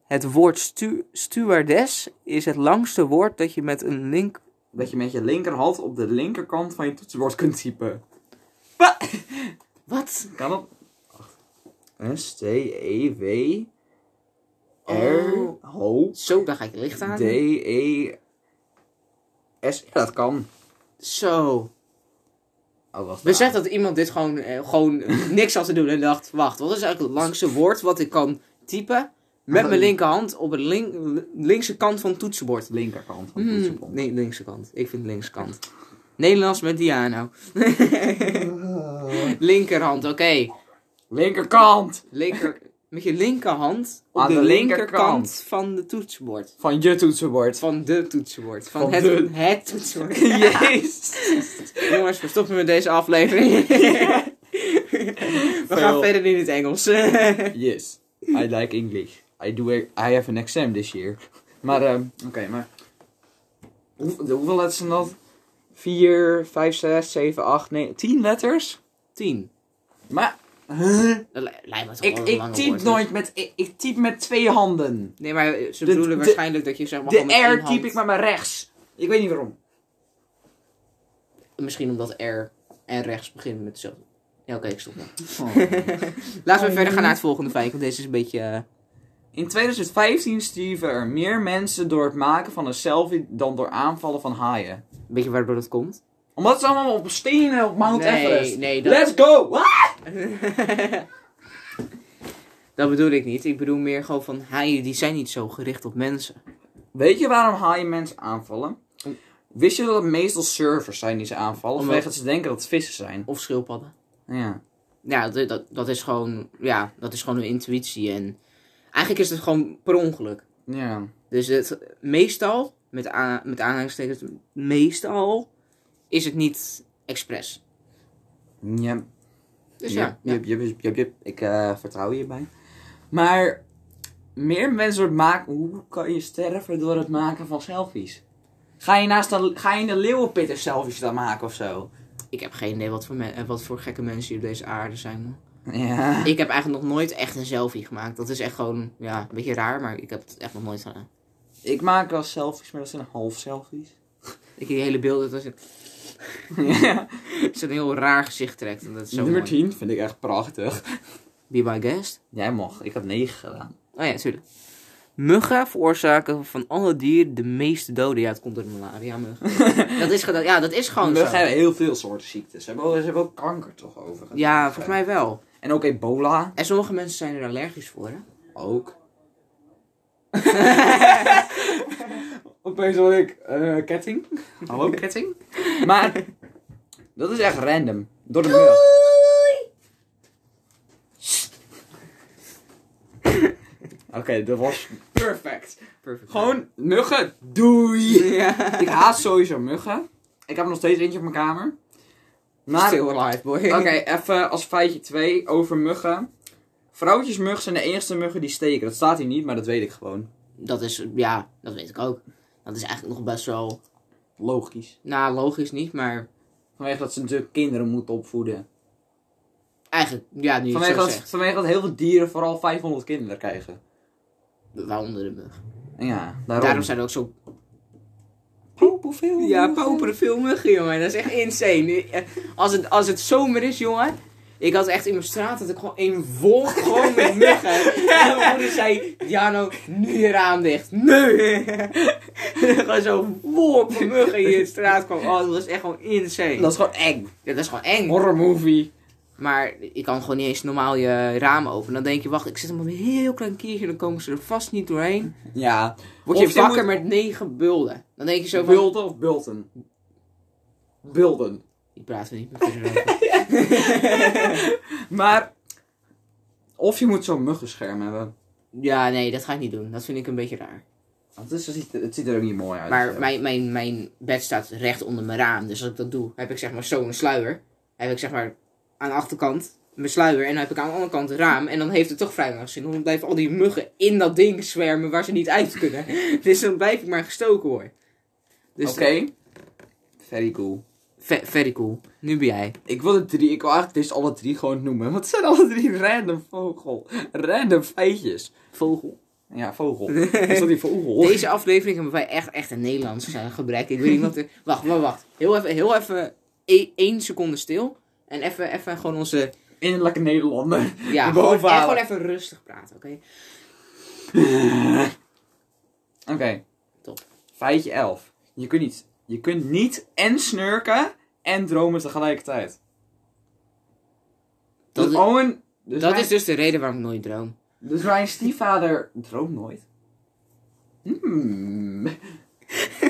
Speaker 2: Het woord stu stewardess is het langste woord dat je met een link
Speaker 1: Dat je met je linkerhand op de linkerkant van je toetsenbord kunt typen.
Speaker 2: Wat?
Speaker 1: Kan dat? S, T, E, W, R,
Speaker 2: Oh.
Speaker 1: H,
Speaker 2: Zo, daar ga ik licht aan.
Speaker 1: D, E, S. Ja, dat kan.
Speaker 2: Zo.
Speaker 1: Oh, wacht.
Speaker 2: We zeggen dat iemand dit gewoon, eh, gewoon niks had te doen en dacht, wacht, wat is eigenlijk het langste woord wat ik kan typen met mijn linkerhand op de link- linkse kant van het toetsenbord?
Speaker 1: linkerkant van het
Speaker 2: Hmm,
Speaker 1: toetsenbord.
Speaker 2: nee, linkse kant. Ik vind linkse kant. Nederlands
Speaker 1: <laughs>
Speaker 2: met Diano. Linkerhand, oké.
Speaker 1: Linkerkant
Speaker 2: Linker, met je linkerhand op
Speaker 1: Aan
Speaker 2: de,
Speaker 1: de
Speaker 2: linkerkant
Speaker 1: linkerkant.
Speaker 2: van de toetsenbord.
Speaker 1: van je toetsenbord.
Speaker 2: Van de toetsenbord. Van,
Speaker 1: Van
Speaker 2: het,
Speaker 1: de-
Speaker 2: het <laughs> toetsenbord.
Speaker 1: Jezus.
Speaker 2: Jongens, we stoppen met deze aflevering. <laughs> we gaan
Speaker 1: Veel.
Speaker 2: verder in het Engels. <laughs>
Speaker 1: Yes.
Speaker 2: Hmm.
Speaker 1: I like English. I do. I have an exam this year. Maar, ehm, oké, maar. Hoe, de- hoeveel letters zijn dat? 4, 5, 6, 7, 8, 9, 10 letters?
Speaker 2: Tien.
Speaker 1: Maar. huh?
Speaker 2: Dat li- lijkt me toch
Speaker 1: Ik,
Speaker 2: wel een
Speaker 1: ik
Speaker 2: lange
Speaker 1: typ
Speaker 2: woord. dus.
Speaker 1: nooit met. Ik, ik typ met twee handen.
Speaker 2: Nee, maar eh,
Speaker 1: De-
Speaker 2: ze bedoelen
Speaker 1: de-
Speaker 2: waarschijnlijk dat je zeg maar gewoon
Speaker 1: De
Speaker 2: met één
Speaker 1: R
Speaker 2: hand-
Speaker 1: typ ik met mijn rechts. Ik weet niet waarom.
Speaker 2: Misschien omdat R en rechts beginnen met hetzelfde. Ja, oké, ik stop Ehm. nu.
Speaker 1: Oh.
Speaker 2: Laten we verder gaan naar het volgende feit, want deze is een beetje... eh,
Speaker 1: In 2015 stierven er meer mensen door het maken van een selfie dan door aanvallen van haaien.
Speaker 2: Weet je waardoor dat komt?
Speaker 1: Omdat ze allemaal op stenen op Mount
Speaker 2: Nee,
Speaker 1: Everest.
Speaker 2: nee, dat-
Speaker 1: Let's go! Ah!
Speaker 2: dat bedoel ik niet. Ik bedoel meer gewoon van haaien die zijn niet zo gericht op mensen.
Speaker 1: Weet je waarom haaien mensen aanvallen? Wist je dat het meestal surfers zijn die ze aanvallen?
Speaker 2: Omdat-
Speaker 1: Vanwege dat ze denken dat het vissen zijn.
Speaker 2: Of schildpadden.
Speaker 1: Ja.
Speaker 2: Ja, dat, dat, dat is gewoon, ja, dat is gewoon een intuïtie. En eigenlijk is het gewoon per ongeluk.
Speaker 1: Ja.
Speaker 2: Dus het, meestal, met, a- met aanhalingstekens, meestal is het niet expres.
Speaker 1: Ja.
Speaker 2: Dus ja, ja.
Speaker 1: Jup, jup, jup, jup, jup. Ik eh, vertrouw hierbij. Maar meer mensen door het maken... Hoe kan je sterven door het maken van selfies? Ga je, naast een, ga je in de leeuwenpit een selfie staan maken of zo?
Speaker 2: ik heb geen idee wat voor, men- eh, wat voor gekke mensen hier op deze aarde zijn. man.
Speaker 1: Ja.
Speaker 2: Ik heb eigenlijk nog nooit echt een selfie gemaakt. Dat is echt gewoon, ja, een beetje raar, maar ik heb het echt nog nooit gedaan.
Speaker 1: Ik maak wel selfies, maar dat zijn half selfies.
Speaker 2: Ik die hele beelden, dat is
Speaker 1: <laughs> ja.
Speaker 2: <laughs> ze een heel raar gezicht trekt. En dat is zo
Speaker 1: Nummer
Speaker 2: mooi.
Speaker 1: 10 vind ik echt prachtig.
Speaker 2: Be my guest.
Speaker 1: Jij mocht. Ik had 9 gedaan.
Speaker 2: Oh ja, natuurlijk. Muggen veroorzaken van alle dieren de meeste doden. Ja, het komt door de malaria muggen.
Speaker 1: <laughs>
Speaker 2: dat is, ge- ja, dat is gewoon
Speaker 1: We
Speaker 2: zo.
Speaker 1: hebben heel veel soorten ziektes. Ze hebben ook, ze hebben ook kanker toch over.
Speaker 2: Ja, volgens mij wel.
Speaker 1: En ook ebola.
Speaker 2: En sommige mensen zijn er allergisch voor, hè?
Speaker 1: <laughs> Ook. Opeens hoor ik eh, ketting. Hallo ketting. <laughs> Maar dat is echt random. Door de muggen. Oké, dat was perfect.
Speaker 2: Perfect.
Speaker 1: Gewoon muggen. Doei.
Speaker 2: Ja.
Speaker 1: Ik haat sowieso muggen. Ik heb er nog steeds eentje op mijn kamer. <laughs> Maar
Speaker 2: Still alive, boy.
Speaker 1: Oké, even als feitje 2 over muggen. Vrouwtjesmuggen zijn de enige muggen die steken. Dat staat hier niet, maar dat weet ik gewoon.
Speaker 2: <laughs> Dat is, ja, dat weet ik ook. Dat is eigenlijk nog best wel,
Speaker 1: Logisch.
Speaker 2: nou, logisch niet, maar
Speaker 1: Vanwege dat ze natuurlijk kinderen moeten opvoeden.
Speaker 2: eigenlijk, ja, nu je het
Speaker 1: Vanwege
Speaker 2: zo
Speaker 1: dat,
Speaker 2: zegt.
Speaker 1: vanwege dat heel veel dieren vooral 500 kinderen krijgen.
Speaker 2: Waaronder de mug.
Speaker 1: Ja, daarom.
Speaker 2: Daarom zijn er ook zo
Speaker 1: Pauperveel
Speaker 2: Ja,
Speaker 1: muggen.
Speaker 2: pauperen veel muggen, jongen. Dat is echt insane. Eh, Als het, als het zomer is, jongen. Ik had echt in mijn straat dat ik gewoon een wolk gewoon
Speaker 1: <laughs>
Speaker 2: met muggen. En mijn moeder zei, Jano, nu je raam dicht. Nu! <laughs> gewoon zo'n wolk van muggen hier in de straat kwam. Oh, dat was echt gewoon insane.
Speaker 1: Dat is gewoon eng.
Speaker 2: Ja, dat is gewoon eng.
Speaker 1: Horror movie.
Speaker 2: Maar je kan gewoon niet eens normaal je raam openen. Dan denk je, wacht, ik zet hem op een heel klein kiertje. Dan komen ze er vast niet doorheen.
Speaker 1: Ja.
Speaker 2: Word je
Speaker 1: Of je
Speaker 2: wakker
Speaker 1: moet-
Speaker 2: met negen bulden. Dan denk je zo van...
Speaker 1: Bulten of bulten? Bulten.
Speaker 2: Ik praat er niet meer verder over.
Speaker 1: Maar. Of je moet zo'n muggenscherm hebben.
Speaker 2: Ja, nee, dat ga ik niet doen. Dat vind ik een beetje raar.
Speaker 1: Want het, is, het, ziet, het ziet er ook niet mooi uit.
Speaker 2: Maar mijn, mijn, mijn bed staat recht onder mijn raam. Dus als ik dat doe, heb ik zeg maar zo'n sluier. Heb ik zeg maar aan de achterkant mijn sluier. En dan heb ik aan de andere kant het raam. En dan heeft het toch vrij weinig zin. Want dan blijven al die muggen in dat ding zwermen waar ze niet uit kunnen. <laughs> dus dan blijf ik maar gestoken worden. Dus
Speaker 1: Oké. Very cool.
Speaker 2: Ve- very cool. Nu ben jij.
Speaker 1: Ik wil de drie, ik wil eigenlijk deze alle drie gewoon noemen. <laughs> Want het zijn alle drie random vogel. Random feitjes.
Speaker 2: Vogel.
Speaker 1: Ja, vogel. <laughs> Is dat die vogel?
Speaker 2: Deze aflevering hebben wij echt, echt een Nederlands eh, gebrek. Ik weet niet wat er... <laughs> Wacht, wacht, wacht. Heel even, heel even e- één seconde stil. En even, even gewoon onze
Speaker 1: Innerlijke Nederlander. <laughs>
Speaker 2: Ja,
Speaker 1: De
Speaker 2: gewoon, en
Speaker 1: bovenhalen.
Speaker 2: gewoon even rustig praten, oké?
Speaker 1: Oké.
Speaker 2: Top.
Speaker 1: <laughs> Feitje 11. Je kunt niet Je kunt niet en snurken en dromen tegelijkertijd.
Speaker 2: Dat
Speaker 1: Dus
Speaker 2: is-
Speaker 1: Owen... Dus
Speaker 2: dat
Speaker 1: mijn,
Speaker 2: is dus de reden waarom ik nooit droom.
Speaker 1: dus mijn stiefvader droomt nooit. Hmm.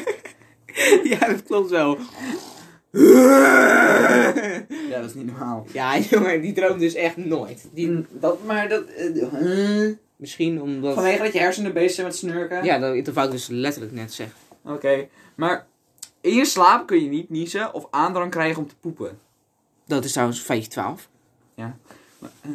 Speaker 2: <laughs> ja, dat klopt wel. <laughs>
Speaker 1: Ja, dat is niet normaal.
Speaker 2: ja, <laughs> jongen, die droomt dus echt nooit. Die,
Speaker 1: Mm, Dat, maar dat... eh, eh,
Speaker 2: Misschien omdat...
Speaker 1: vanwege dat je hersenen bezig zijn met snurken?
Speaker 2: Ja, dat, dat wou ik dus letterlijk net zeggen.
Speaker 1: Oké, maar in je slaap kun je niet niezen of aandrang krijgen om te poepen.
Speaker 2: Dat is trouwens feitje 12.
Speaker 1: Maar, eh,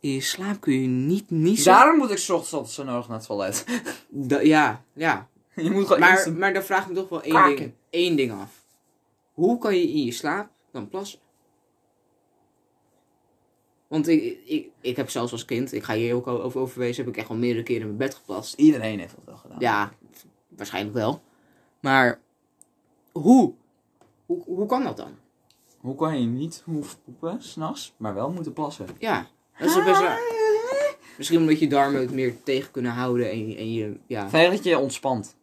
Speaker 2: In je slaap kun je niet niezen.
Speaker 1: daarom moet ik 's ochtends altijd zo nodig naar het toilet. <laughs>
Speaker 2: Da- ja, ja.
Speaker 1: je moet gewoon
Speaker 2: Maar,
Speaker 1: instant-
Speaker 2: maar dan vraag ik me toch wel één
Speaker 1: Kraken.
Speaker 2: ding, één ding af. Hoe kan je in je slaap dan plassen? Want ik, ik, ik heb zelfs als kind, ik ga hier ook al over overwezen, heb ik echt al meerdere keren in mijn bed geplast.
Speaker 1: Iedereen heeft dat wel gedaan.
Speaker 2: Ja, waarschijnlijk wel. Maar hoe? Hoe, hoe kan dat dan?
Speaker 1: Hoe kan je niet hoeven poepen s'nachts, maar wel moeten plassen?
Speaker 2: Ja, dat is toch best raar. Misschien omdat je darmen het meer tegen kunnen houden en, en je, ja,
Speaker 1: Fijn dat je ontspant.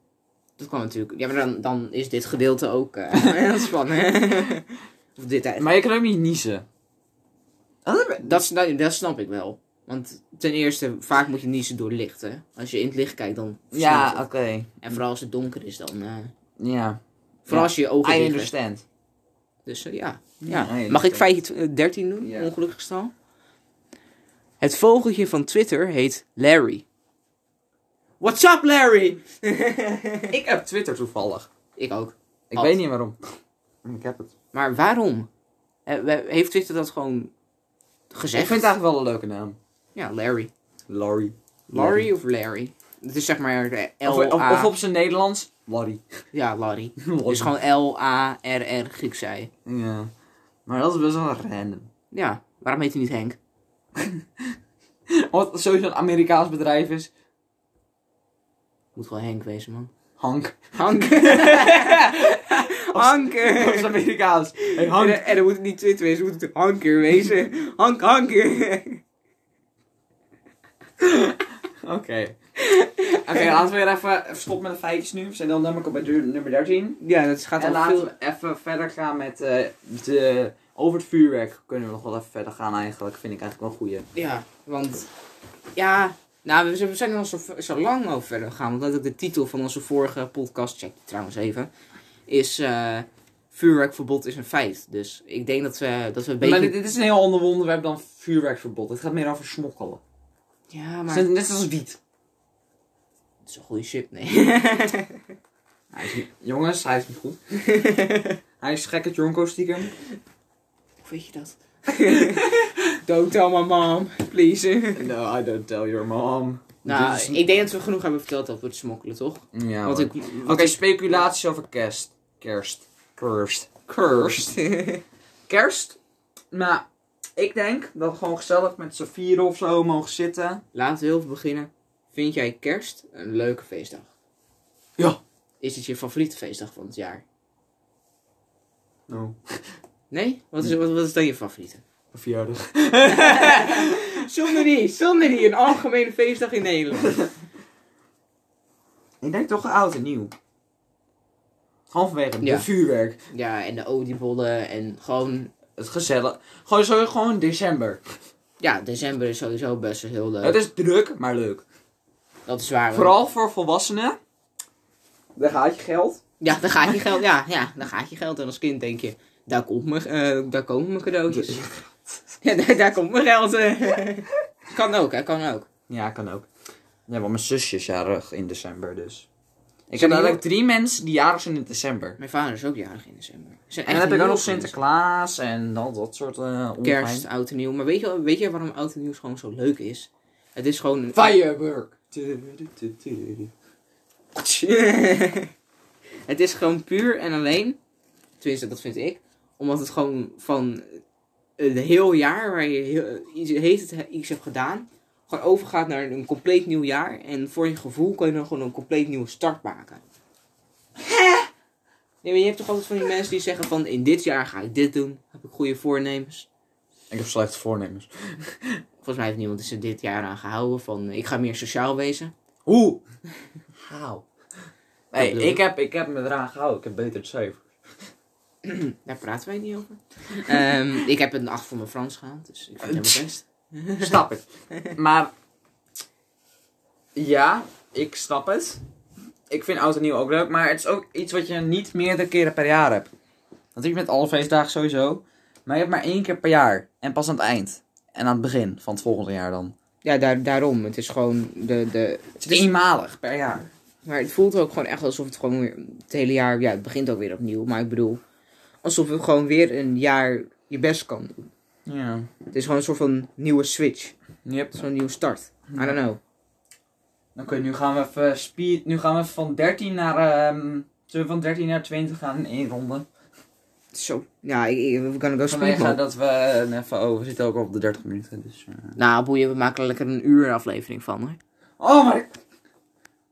Speaker 2: dat kan natuurlijk. Ja, maar dan, dan is dit gedeelte ook eh, <laughs> heel spannend. <laughs> of dit eigenlijk.
Speaker 1: Maar je kan ook niet niezen. Oh,
Speaker 2: Dat, sna- dat, snap ik wel. Want ten eerste, vaak moet je niezen door licht, hè. Als je in het licht kijkt, dan
Speaker 1: Ja,
Speaker 2: ja.
Speaker 1: oké.
Speaker 2: En vooral als het donker is, dan... eh,
Speaker 1: Ja,
Speaker 2: vooral als je je ogen
Speaker 1: I
Speaker 2: dicht
Speaker 1: <laughs>
Speaker 2: hebt.
Speaker 1: understand.
Speaker 2: Dus eh, ja.
Speaker 1: I
Speaker 2: ja.
Speaker 1: understand.
Speaker 2: Mag ik feitje tw- eh, 13 doen?
Speaker 1: Ja.
Speaker 2: Ongelukkig stal. Het vogeltje van Twitter heet Larry. What's up, Larry?
Speaker 1: Ik heb Twitter toevallig.
Speaker 2: <laughs> ik ook.
Speaker 1: Ik
Speaker 2: Had.
Speaker 1: weet niet waarom. Mm, Ik heb het.
Speaker 2: Maar waarom? Eh, we- Heeft Twitter dat gewoon gezegd?
Speaker 1: Ik vind het eigenlijk wel een leuke naam.
Speaker 2: Ja, Larry.
Speaker 1: Larry.
Speaker 2: Larry of Larry? Het is zeg maar eh, L-A...
Speaker 1: Of, of, of op zijn Nederlands, Larry. <laughs>
Speaker 2: Ja, Larry.
Speaker 1: Larry.
Speaker 2: Dus gewoon L-A-R-R Grieks zij.
Speaker 1: Ja. Maar dat is best wel random. <laughs>
Speaker 2: Ja, waarom heet hij niet Henk?
Speaker 1: Wat sowieso een Amerikaans bedrijf is.
Speaker 2: Moet wel Henk wezen, man.
Speaker 1: Hank. <laughs>
Speaker 2: <laughs> Hank!
Speaker 1: Dat
Speaker 2: Hanker! <laughs>
Speaker 1: is Amerikaans. Hey, <laughs> Hank.
Speaker 2: dan moet het niet Twitter wezen, moet het Hanker wezen. Hank, <laughs> Hanker!
Speaker 1: Oké. Oké, laten we weer even stoppen met de feitjes nu. We zijn dan namelijk al bij deur- nummer 13.
Speaker 2: Ja, dat gaat
Speaker 1: En
Speaker 2: al
Speaker 1: laten
Speaker 2: veel...
Speaker 1: we even verder gaan met eh, de... Over het vuurwerk kunnen we nog wel even verder gaan eigenlijk. Vind ik eigenlijk wel een goeie.
Speaker 2: Ja, want... Ja, nou, we zijn- we zijn er al zo, zo lang over verder gegaan. Want dat is ook de titel van onze vorige podcast, check die trouwens even, is... eh, vuurwerkverbod is een feit. Dus ik denk dat we, dat we een beetje...
Speaker 1: Maar dit, dit is een heel ander onderwerp dan vuurwerkverbod. Het gaat meer over smokkelen.
Speaker 2: Ja,
Speaker 1: Het
Speaker 2: maar...
Speaker 1: is Net net als wiet.
Speaker 2: Het is een goede shit, <laughs> nee.
Speaker 1: Hij is niet- Jongens, hij is niet
Speaker 2: <laughs>
Speaker 1: goed. hij is gek het Jonko stiekem.
Speaker 2: Hoe weet je dat? <laughs> Don't tell my mom, please.
Speaker 1: No, I don't tell your mom.
Speaker 2: Nou,
Speaker 1: Dit is-
Speaker 2: ik denk dat we genoeg hebben verteld over het smokkelen, toch?
Speaker 1: Ja,
Speaker 2: Want
Speaker 1: hoor.
Speaker 2: ik...
Speaker 1: Oké, speculaties over kerst. Kerst. Kerst. Kerst.
Speaker 2: <laughs>
Speaker 1: Kerst. Nou, ik denk dat we gewoon gezellig met z'n vieren of zo mogen zitten.
Speaker 2: Laten we heel even beginnen. Vind jij kerst een leuke feestdag?
Speaker 1: Ja.
Speaker 2: Is het je favoriete feestdag van het jaar?
Speaker 1: Nou,
Speaker 2: Nee? Wat is, wat, wat is dan je favoriete?
Speaker 1: verjaardag.
Speaker 2: Zonder die, zonder die, een algemene feestdag in Nederland.
Speaker 1: Ik denk toch oud en nieuw. Gewoon vanwege
Speaker 2: Ja.
Speaker 1: de vuurwerk.
Speaker 2: <laughs> Ja, en de oliebollen en gewoon...
Speaker 1: Het gezellig. Gewoon, zo, gewoon december.
Speaker 2: Ja, december is sowieso best wel heel leuk.
Speaker 1: Het is druk, maar leuk.
Speaker 2: Dat is waar. want-
Speaker 1: Vooral voor volwassenen. Daar gaat je geld.
Speaker 2: Ja, dan gaat je geld. Ja, ja, dan gaat je geld. En als kind denk je, daar, komt mijn, eh, daar komen mijn
Speaker 1: <laughs>
Speaker 2: cadeautjes. Ja, daar, daar komt mijn geld. <laughs> eh. kan ook, hè, kan ook.
Speaker 1: Ja, kan ook. Ja, want mijn zusje is jarig in december, dus. Ik
Speaker 2: Zijn
Speaker 1: heb
Speaker 2: die
Speaker 1: eigenlijk drie mensen die jarig zijn in december.
Speaker 2: Mijn vader is ook jarig in december. Er zijn
Speaker 1: En
Speaker 2: echt
Speaker 1: dan heb ik ook
Speaker 2: heel
Speaker 1: nog
Speaker 2: veel
Speaker 1: Sinterklaas en al dat soort eh
Speaker 2: mensen. Kerst, oud en nieuw. Maar weet je, wel- weet je waarom oud en nieuw gewoon zo leuk is? Het is gewoon... een-
Speaker 1: Firework.
Speaker 2: <laughs> het is gewoon puur en alleen, tenminste dat vind ik, omdat het gewoon van een heel jaar waar je heel, iets, heet het, iets hebt gedaan, gewoon overgaat naar een compleet nieuw jaar. En voor je gevoel kan je dan gewoon een compleet nieuwe start maken. Nee, maar je hebt toch altijd van die mensen die zeggen van in dit jaar ga ik dit doen, heb ik goede voornemens.
Speaker 1: Ik heb slechte voornemens.
Speaker 2: Volgens mij heeft niemand dus er dit jaar aan gehouden van ik ga meer sociaal wezen.
Speaker 1: Hoe? How? Hey,
Speaker 2: bedoel
Speaker 1: ik, heb, ik heb me eraan gehouden. Ik heb beter het cijfer.
Speaker 2: Daar praten wij niet over. Ehm, ik heb een 8 voor mijn Frans gehaald, dus ik vind het helemaal best.
Speaker 1: Dus Snap ik. Maar ja, ik snap het. Ik vind oud en nieuw ook leuk, maar het is ook iets wat je niet meerdere keren per jaar hebt. Dat heb je met alle feestdagen sowieso. Maar je hebt maar één keer per jaar. En pas aan het eind. En aan het begin van het volgende jaar dan.
Speaker 2: Ja, daar, daarom. Het is gewoon de, de...
Speaker 1: Het is eenmalig per jaar.
Speaker 2: Maar het voelt ook gewoon echt alsof het gewoon weer het hele jaar... Ja, het begint ook weer opnieuw, maar ik bedoel... Alsof je gewoon weer een jaar je best kan doen.
Speaker 1: Ja.
Speaker 2: Het is gewoon een soort van nieuwe switch.
Speaker 1: Yep.
Speaker 2: Zo'n nieuwe start. I don't know.
Speaker 1: Oké, nu gaan we even speed. Nu gaan we even van 13 naar. ehm zullen we van 13 naar 20 gaan in één ronde?
Speaker 2: Zo. Ja, ik, ik, we kunnen go speed,
Speaker 1: Vanwege
Speaker 2: man.
Speaker 1: dat we eh, even. Oh, we zitten ook op de 30 minuten. Dus, eh.
Speaker 2: Nou, boeien, we maken er lekker een uur aflevering van, hoor.
Speaker 1: Oh, maar.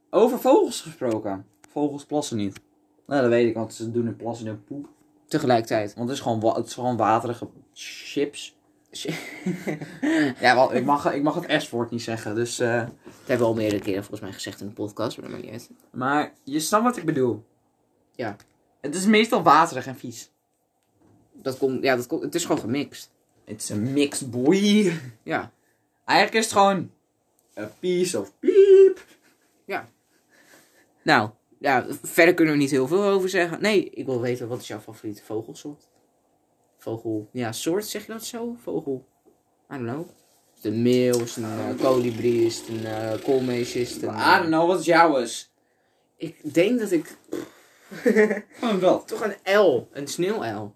Speaker 1: Over vogels gesproken. Vogels plassen niet. Nou, dat weet ik, want ze doen in plassen en poep.
Speaker 2: Tegelijkertijd.
Speaker 1: Want het is gewoon, wa- het is gewoon waterige chips. ja, want ik mag, ik mag het S-woord niet zeggen, dus. eh,
Speaker 2: Dat hebben we al meerdere keren volgens mij gezegd in de podcast, maar dat maakt niet uit.
Speaker 1: maar je snapt wat ik bedoel.
Speaker 2: Ja.
Speaker 1: Het is meestal waterig en vies.
Speaker 2: Dat komt, ja, dat komt, het is gewoon gemixt.
Speaker 1: It's a mixed boy.
Speaker 2: Ja.
Speaker 1: Eigenlijk is het gewoon. A piece of piep.
Speaker 2: Nou, ja, verder kunnen we niet heel veel over zeggen. Nee, ik wil weten, wat is jouw favoriete vogelsoort? Vogel, ja, soort, zeg je dat zo? Vogel, I don't know. Is het een meeuw, is het een eh, kolibrie, is het een eh, koolmees, is het een... eh,
Speaker 1: I don't know, wat is jouw is?
Speaker 2: Ik denk dat ik
Speaker 1: Gewoon dat.
Speaker 2: toch een L, een sneeuwuil.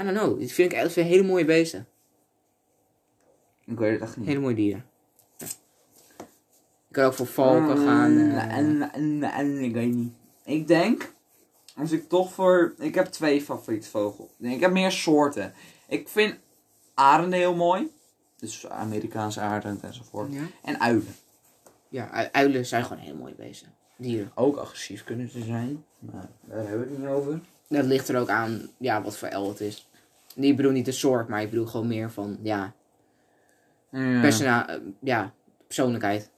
Speaker 2: I don't know, dit vind ik echt hele mooie beesten.
Speaker 1: Ik weet het echt niet.
Speaker 2: Hele mooie dieren. Ja. Ik kan ook voor valken
Speaker 1: Hmm.
Speaker 2: gaan. eh,
Speaker 1: Mm, En, en, en, ik weet niet. Ik denk, als ik toch voor... Ik heb twee favoriete vogels. Nee, ik heb meer soorten. Ik vind arenden heel mooi. Dus Amerikaanse arend enzovoort.
Speaker 2: ja.
Speaker 1: En uilen.
Speaker 2: Ja, ui- uilen zijn gewoon hele mooie beesten. Dieren.
Speaker 1: Ook agressief kunnen ze zijn. Maar daar hebben we het niet over.
Speaker 2: Dat ligt er ook aan ja, wat voor L het is. Nee, Ik bedoel niet de soort, maar ik bedoel gewoon meer van ja,
Speaker 1: Ja.
Speaker 2: persona eh, ja persoonlijkheid.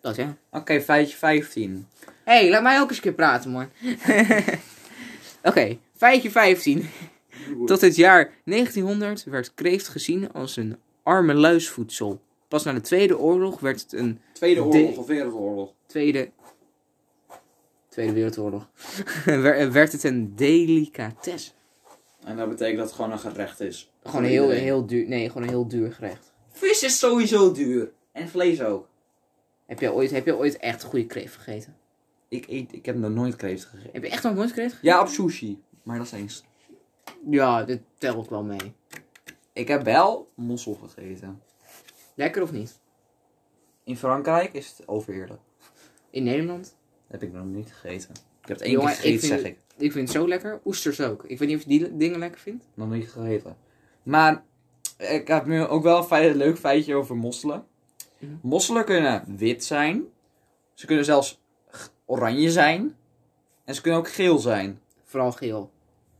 Speaker 2: Dat ja.
Speaker 1: Oké, feitje 15.
Speaker 2: Hé, hey, laat mij ook eens een keer praten, <laughs> man. Oké, feitje 15. Tot het jaar 1900 werd kreeft gezien als een arme luisvoedsel. Pas na de Tweede Oorlog werd het een
Speaker 1: Tweede
Speaker 2: oorlog
Speaker 1: of wereldoorlog?
Speaker 2: Tweede. Tweede Wereldoorlog. <laughs> Wer- werd het een delicatesse.
Speaker 1: En dat betekent dat het gewoon een gerecht is.
Speaker 2: Gewoon een heel, heel duur. Nee, gewoon een heel duur gerecht.
Speaker 1: Vis is sowieso duur. En vlees ook.
Speaker 2: Heb je ooit, heb je ooit echt goede kreeft gegeten?
Speaker 1: Ik, eet, ik heb nog nooit kreeft gegeten.
Speaker 2: Heb je echt nog nooit kreeft gegeten?
Speaker 1: Ja, op sushi. Maar dat is eens.
Speaker 2: Ja, dat tel ik wel mee.
Speaker 1: Ik heb wel mossel gegeten.
Speaker 2: Lekker of niet?
Speaker 1: In Frankrijk is het overheerlijk.
Speaker 2: In Nederland?
Speaker 1: Heb ik nog niet gegeten. Ik heb het één
Speaker 2: Jongen,
Speaker 1: keer gegeten,
Speaker 2: ik vind-
Speaker 1: zeg ik.
Speaker 2: Ik vind het zo lekker. Oesters ook. Ik weet niet of je die dingen lekker vindt.
Speaker 1: Nog niet gegeten. Maar ik heb nu ook wel een, fei- een leuk feitje over mosselen.
Speaker 2: Mhm.
Speaker 1: Mosselen kunnen wit zijn. Ze kunnen zelfs g- oranje zijn. En ze kunnen ook geel zijn.
Speaker 2: Vooral geel.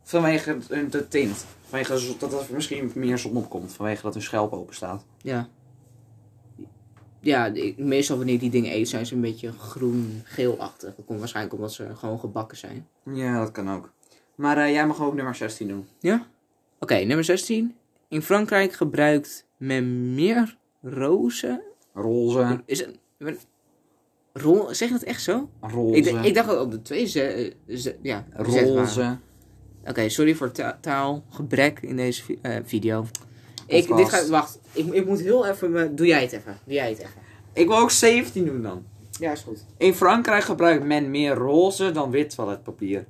Speaker 1: Vanwege hun- de tint. Vanwege zo- dat er misschien meer zon opkomt. Vanwege dat hun schelp open staat.
Speaker 2: Ja. Ja, ik- meestal wanneer ik die dingen eet zijn ze een beetje groen-geelachtig. Dat komt waarschijnlijk omdat ze gewoon gebakken zijn.
Speaker 1: Ja, dat kan ook. Maar eh, jij mag ook nummer 16 doen.
Speaker 2: Oké, nummer 16. In Frankrijk gebruikt men meer rozen.
Speaker 1: Roze.
Speaker 2: Is het. Rol, zeg je dat echt zo?
Speaker 1: Roze.
Speaker 2: Ik, d- ik dacht ook op de twee ze, eh, ze- ja, zetbaren.
Speaker 1: Roze.
Speaker 2: Oké, sorry voor ta- taalgebrek in deze vi- eh, video. Ik, dit
Speaker 1: Podcast.
Speaker 2: gaat, wacht, ik, ik moet heel even. me- doe jij het even? Doe jij het even?
Speaker 1: Ik wil ook 17 doen dan.
Speaker 2: Ja, is goed.
Speaker 1: In Frankrijk gebruikt men meer roze dan wit toiletpapier.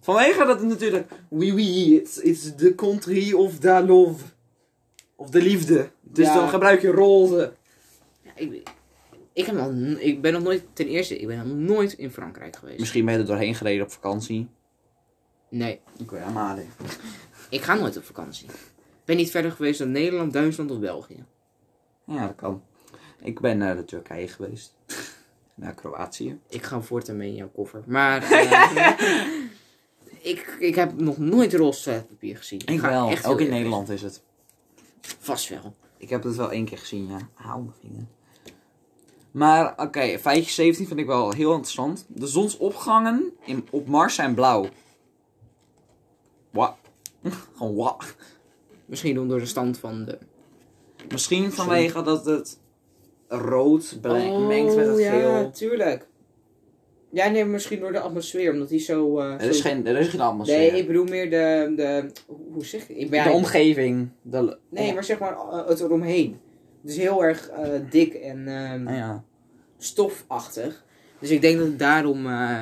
Speaker 1: Vanwege dat het natuurlijk... Oui, oui, it's, it's the country of the love. Of de liefde. Dus
Speaker 2: Ja.
Speaker 1: dan gebruik je roze.
Speaker 2: ik, ik, heb nog n- ik ben nog nooit, ten eerste, ik ben nog nooit in Frankrijk geweest.
Speaker 1: Misschien ben je er doorheen gereden op vakantie.
Speaker 2: Nee,
Speaker 1: Ik weet helemaal niet.
Speaker 2: ik ga nooit op vakantie. Ik ben niet verder geweest dan Nederland, Duitsland of België.
Speaker 1: Ja, dat kan. Ik ben eh, naar de Turkije geweest. <laughs> naar Kroatië.
Speaker 2: Ik ga voortaan mee in jouw koffer.
Speaker 1: <laughs>
Speaker 2: Maar eh, ik, ik heb nog nooit roze toiletpapier gezien.
Speaker 1: Ik
Speaker 2: ga
Speaker 1: wel.
Speaker 2: echt
Speaker 1: ook in
Speaker 2: heel erg-
Speaker 1: Nederland is het.
Speaker 2: Vast wel.
Speaker 1: Ik heb het wel één keer gezien, ja. Haal mijn vinger. Maar oké, feitje 17 vind ik wel heel interessant. De zonsopgangen in, op Mars zijn blauw. Wa. <laughs> Gewoon wa.
Speaker 2: Misschien om door de stand van de...
Speaker 1: Misschien Oh, vanwege dat het rood bele- mengt met het
Speaker 2: Oh, ja,
Speaker 1: geel.
Speaker 2: tuurlijk. Ja, nee, misschien door de atmosfeer, omdat die zo... eh,
Speaker 1: Er is
Speaker 2: zo-
Speaker 1: geen, er is geen atmosfeer.
Speaker 2: Nee, ik bedoel meer de... de hoe zeg ik? ik ben-
Speaker 1: de omgeving. De,
Speaker 2: Nee, maar zeg maar eh, het eromheen. Het is heel erg eh, dik en ehm,
Speaker 1: Ah, ja.
Speaker 2: stofachtig. Dus ik denk dat het daarom eh,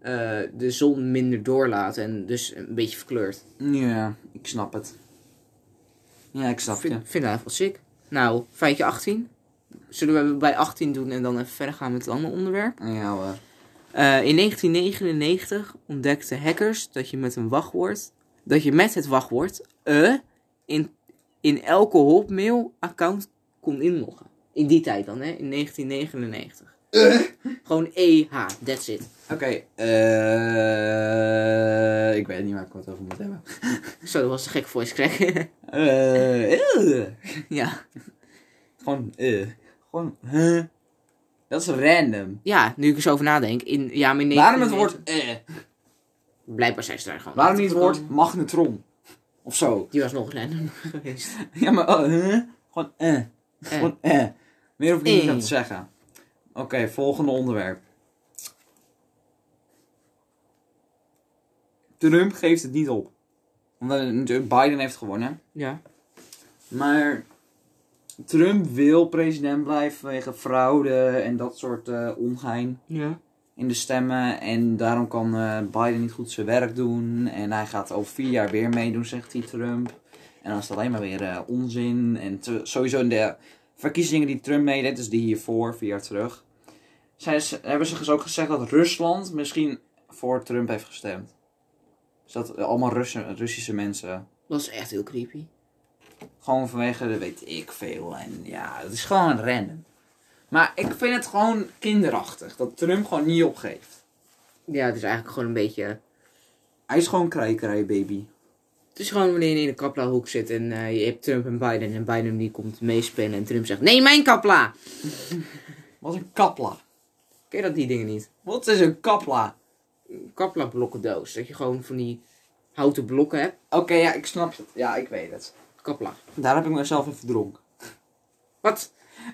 Speaker 2: eh, de zon minder doorlaat en dus een beetje verkleurt.
Speaker 1: ja, ik snap het. Ja, ik snap
Speaker 2: vind,
Speaker 1: je.
Speaker 2: vind dat eigenlijk wel sick. Nou, feitje 18. Zullen we bij 18 doen en dan even verder gaan met het andere onderwerp?
Speaker 1: Ja hoor.
Speaker 2: Eh, in 1999 ontdekten hackers dat je met een wachtwoord, dat je met het wachtwoord eh in, in elke Hotmail-account kon inloggen. In die tijd dan, hè? In 1999. Gewoon EH, that's it.
Speaker 1: Oké, eh ik weet niet waar ik het over moet hebben.
Speaker 2: Zo, dat was een gek voice crack.
Speaker 1: Eh, eh.
Speaker 2: <laughs> ja.
Speaker 1: Gewoon, eh. Gewoon, huh? Dat is random.
Speaker 2: ja, nu ik er zo over nadenk. In, ja, maar in
Speaker 1: Waarom het
Speaker 2: 1999
Speaker 1: woord eh?
Speaker 2: Blijkbaar zijn ze daar gewoon.
Speaker 1: Waarom niet het
Speaker 2: achter
Speaker 1: woord
Speaker 2: gekomen.
Speaker 1: magnetron? Of zo. <laughs>
Speaker 2: Die was nog random geweest.
Speaker 1: Ja, maar eh, huh? Gewoon eh. Gewoon eh. Meer hoef ik niet
Speaker 2: Eh.
Speaker 1: aan te zeggen. Oké, volgende onderwerp. Trump geeft het niet op. Omdat natuurlijk Biden heeft gewonnen.
Speaker 2: Ja.
Speaker 1: Maar Trump wil president blijven vanwege fraude en dat soort eh, ongein.
Speaker 2: Ja.
Speaker 1: in de stemmen. En daarom kan eh, Biden niet goed zijn werk doen. En hij gaat over vier jaar weer meedoen, zegt hij Trump. En dan is het alleen maar weer eh, onzin. En te- sowieso in de verkiezingen die Trump meedeed, dus die hiervoor, vier jaar terug. Zij ze- hebben ze dus ook gezegd dat Rusland misschien voor Trump heeft gestemd. Dus dat eh, allemaal Russen, Russische mensen.
Speaker 2: Dat is echt heel creepy.
Speaker 1: Gewoon vanwege, dat weet ik veel. En ja, het is gewoon random. Maar ik vind het gewoon kinderachtig dat Trump gewoon niet opgeeft.
Speaker 2: Ja, het is eigenlijk gewoon een beetje
Speaker 1: Hij is gewoon krijkerij, baby.
Speaker 2: Het is gewoon wanneer je in de kaplahoek zit en eh, je hebt Trump en Biden en Biden die komt meespelen en Trump zegt nee mijn kapla.
Speaker 1: Wat een kapla.
Speaker 2: Ken je dat die dingen niet?
Speaker 1: Wat is een kapla?
Speaker 2: Kapla blokkendoos. Dat je gewoon van die houten blokken hebt.
Speaker 1: Oké, ja, ik snap het. Ja, ik weet het.
Speaker 2: Kapla.
Speaker 1: Daar heb ik mezelf in verdronken.
Speaker 2: Wat?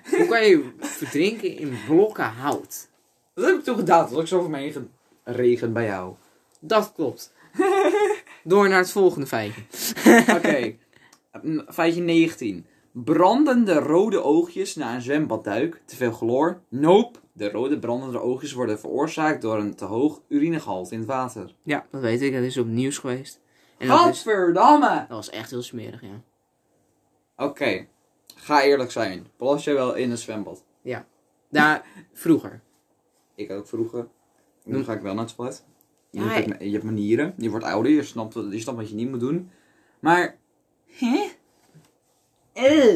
Speaker 2: Hoe kan je verdrinken in blokken hout?
Speaker 1: Dat heb ik toen gedaan, toen was ik zo over me heen geregen bij jou.
Speaker 2: Dat klopt. Door naar het volgende feitje. <laughs>
Speaker 1: Oké. <laughs> Mm, Feitje 19. Brandende rode oogjes na een zwembadduik. Te veel chloor. Nope. De rode brandende oogjes worden veroorzaakt door een te hoog urinegehalte in het water.
Speaker 2: Ja, dat weet ik. Dat is op het nieuws geweest. En dat, is,
Speaker 1: Gadverdamme!
Speaker 2: dat was echt heel smerig, ja.
Speaker 1: Oké. Ga eerlijk zijn. Plas jij wel in een zwembad?
Speaker 2: Daar, vroeger.
Speaker 1: Ik ook vroeger. Nu ga ik wel naar het toilet.
Speaker 2: Ja,
Speaker 1: je, hebt, je hebt manieren, je wordt ouder, je snapt, wat- je snapt wat je niet moet doen. Maar. Hè? Eh.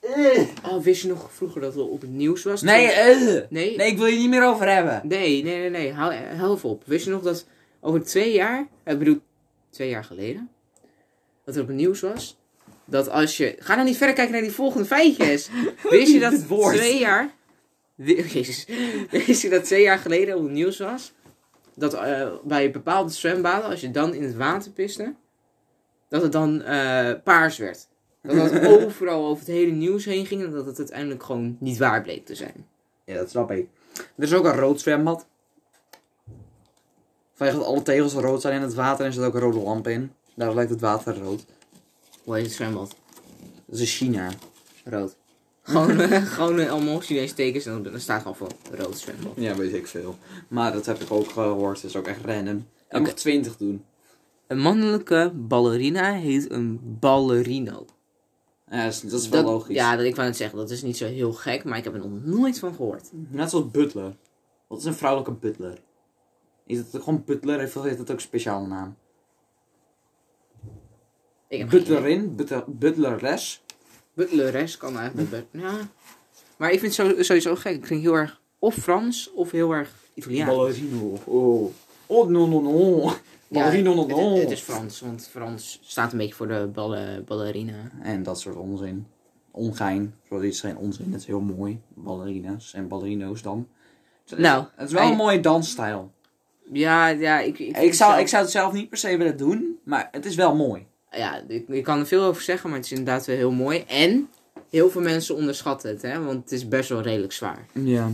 Speaker 1: Eh.
Speaker 2: Oh, wist je nog vroeger dat het op het nieuws was?
Speaker 1: Nee, eh.
Speaker 2: Nee,
Speaker 1: Nee, ik wil je niet meer over hebben.
Speaker 2: Nee, nee, nee, nee. Hou, hou even op. Wist je nog dat over twee jaar, ik bedoel, twee jaar geleden, dat er op het nieuws was? Dat als je. Ga nou niet verder kijken naar die volgende
Speaker 1: <laughs>
Speaker 2: feitjes. Wist je dat
Speaker 1: Dit woord.
Speaker 2: twee jaar. Wi- <laughs> Jezus. Wist je dat twee jaar geleden op het nieuws was? Dat eh, bij bepaalde zwembaden, als je dan in het water piste, dat het dan eh, paars werd. Dat
Speaker 1: <laughs>
Speaker 2: dat overal over het hele nieuws heen ging en dat het uiteindelijk gewoon niet waar bleek te zijn.
Speaker 1: Ja, dat snap ik. Er is ook een rood zwembad. Vanwege dat alle tegels rood zijn in het water en er zit ook een rode lamp in. Daar lijkt het water rood.
Speaker 2: Hoe heet het zwembad?
Speaker 1: Dat is in China.
Speaker 2: Rood. Gewoon, eh, gewoon eh, allemaal Chinese tekens en dan- dan staat gewoon voor rood zwembad.
Speaker 1: Ja, weet ik veel. Maar dat heb ik ook gehoord, dat is ook echt random.
Speaker 2: Oké.
Speaker 1: Ik mag 20 doen.
Speaker 2: Een mannelijke ballerina heet een ballerino.
Speaker 1: Ja, dat is, dat is wel
Speaker 2: Dat-
Speaker 1: logisch.
Speaker 2: Ja, dat, ik wou net zeggen, dat is niet zo heel gek, maar ik heb er nog nooit van gehoord.
Speaker 1: Net zoals butler. Wat is een vrouwelijke butler? Is het gewoon butler of heeft het ook een speciale naam?
Speaker 2: Ik heb geen idee.
Speaker 1: Butlerin, butter, butleres.
Speaker 2: Butleres kan eigenlijk. but- ja. Maar ik vind het zo- sowieso gek. Het klinkt heel erg of Frans of heel erg Italiaans.
Speaker 1: Ballerino. Oh. Oh, no, no, no.
Speaker 2: Ja,
Speaker 1: Ballerino, no,
Speaker 2: het,
Speaker 1: no.
Speaker 2: het is Frans, want Frans staat een beetje voor de balle, ballerina.
Speaker 1: En dat soort onzin. ongein. Zoals dit zijn onzin. Het is heel mooi. Ballerina's en ballerino's dan. Het is-
Speaker 2: Nou,
Speaker 1: het is wel een
Speaker 2: hij-
Speaker 1: mooie dansstijl.
Speaker 2: Ja, ja, ik... Ik,
Speaker 1: Ik zou,
Speaker 2: zelf-
Speaker 1: ik zou het zelf niet per se willen doen, maar het is wel mooi.
Speaker 2: Ja, ik, ik kan er veel over zeggen, maar het is inderdaad wel heel mooi. En heel veel mensen onderschatten het, hè. Want het is best wel redelijk zwaar.
Speaker 1: Ja.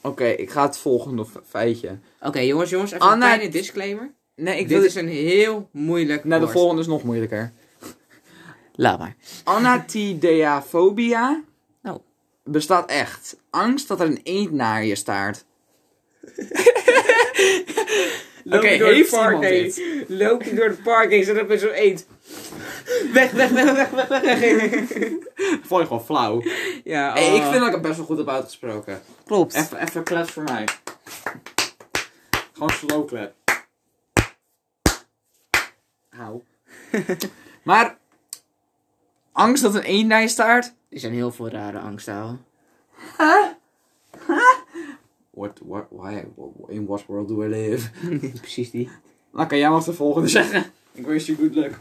Speaker 1: Oké, ik ga het volgende fe- feitje.
Speaker 2: Oké, jongens, jongens. Even
Speaker 1: Anna-
Speaker 2: een kleine disclaimer.
Speaker 1: Nee, ik
Speaker 2: Dit
Speaker 1: wil...
Speaker 2: is een heel moeilijk
Speaker 1: Nou, de
Speaker 2: woord.
Speaker 1: volgende is nog moeilijker.
Speaker 2: Laat maar.
Speaker 1: Anatideafobia
Speaker 2: Nou.
Speaker 1: bestaat echt. Angst dat er een eend naar je staart. Oké,
Speaker 2: Loop je door
Speaker 1: heeft
Speaker 2: de park
Speaker 1: iemand
Speaker 2: heen.
Speaker 1: dit?
Speaker 2: Loop je door het park heen, zit er met zo'n eend. Weg, weg, weg, weg, weg, weg. weg.
Speaker 1: <laughs> Vond je gewoon flauw. Eh.
Speaker 2: ja,
Speaker 1: Hey, ik
Speaker 2: oh.
Speaker 1: vind dat ik het best wel goed heb uitgesproken.
Speaker 2: Klopt.
Speaker 1: Even, even klets voor mij. Gewoon slow clap. Hou. maar, angst dat een eend naar je staart?
Speaker 2: Er zijn heel veel rare angsten, ouwe. <laughs>
Speaker 1: What, what, why, in what world do I live?
Speaker 2: Precies die.
Speaker 1: Oké, Nou, jij mag de
Speaker 2: <laughs>
Speaker 1: volgende zeggen. Ik wish you good luck.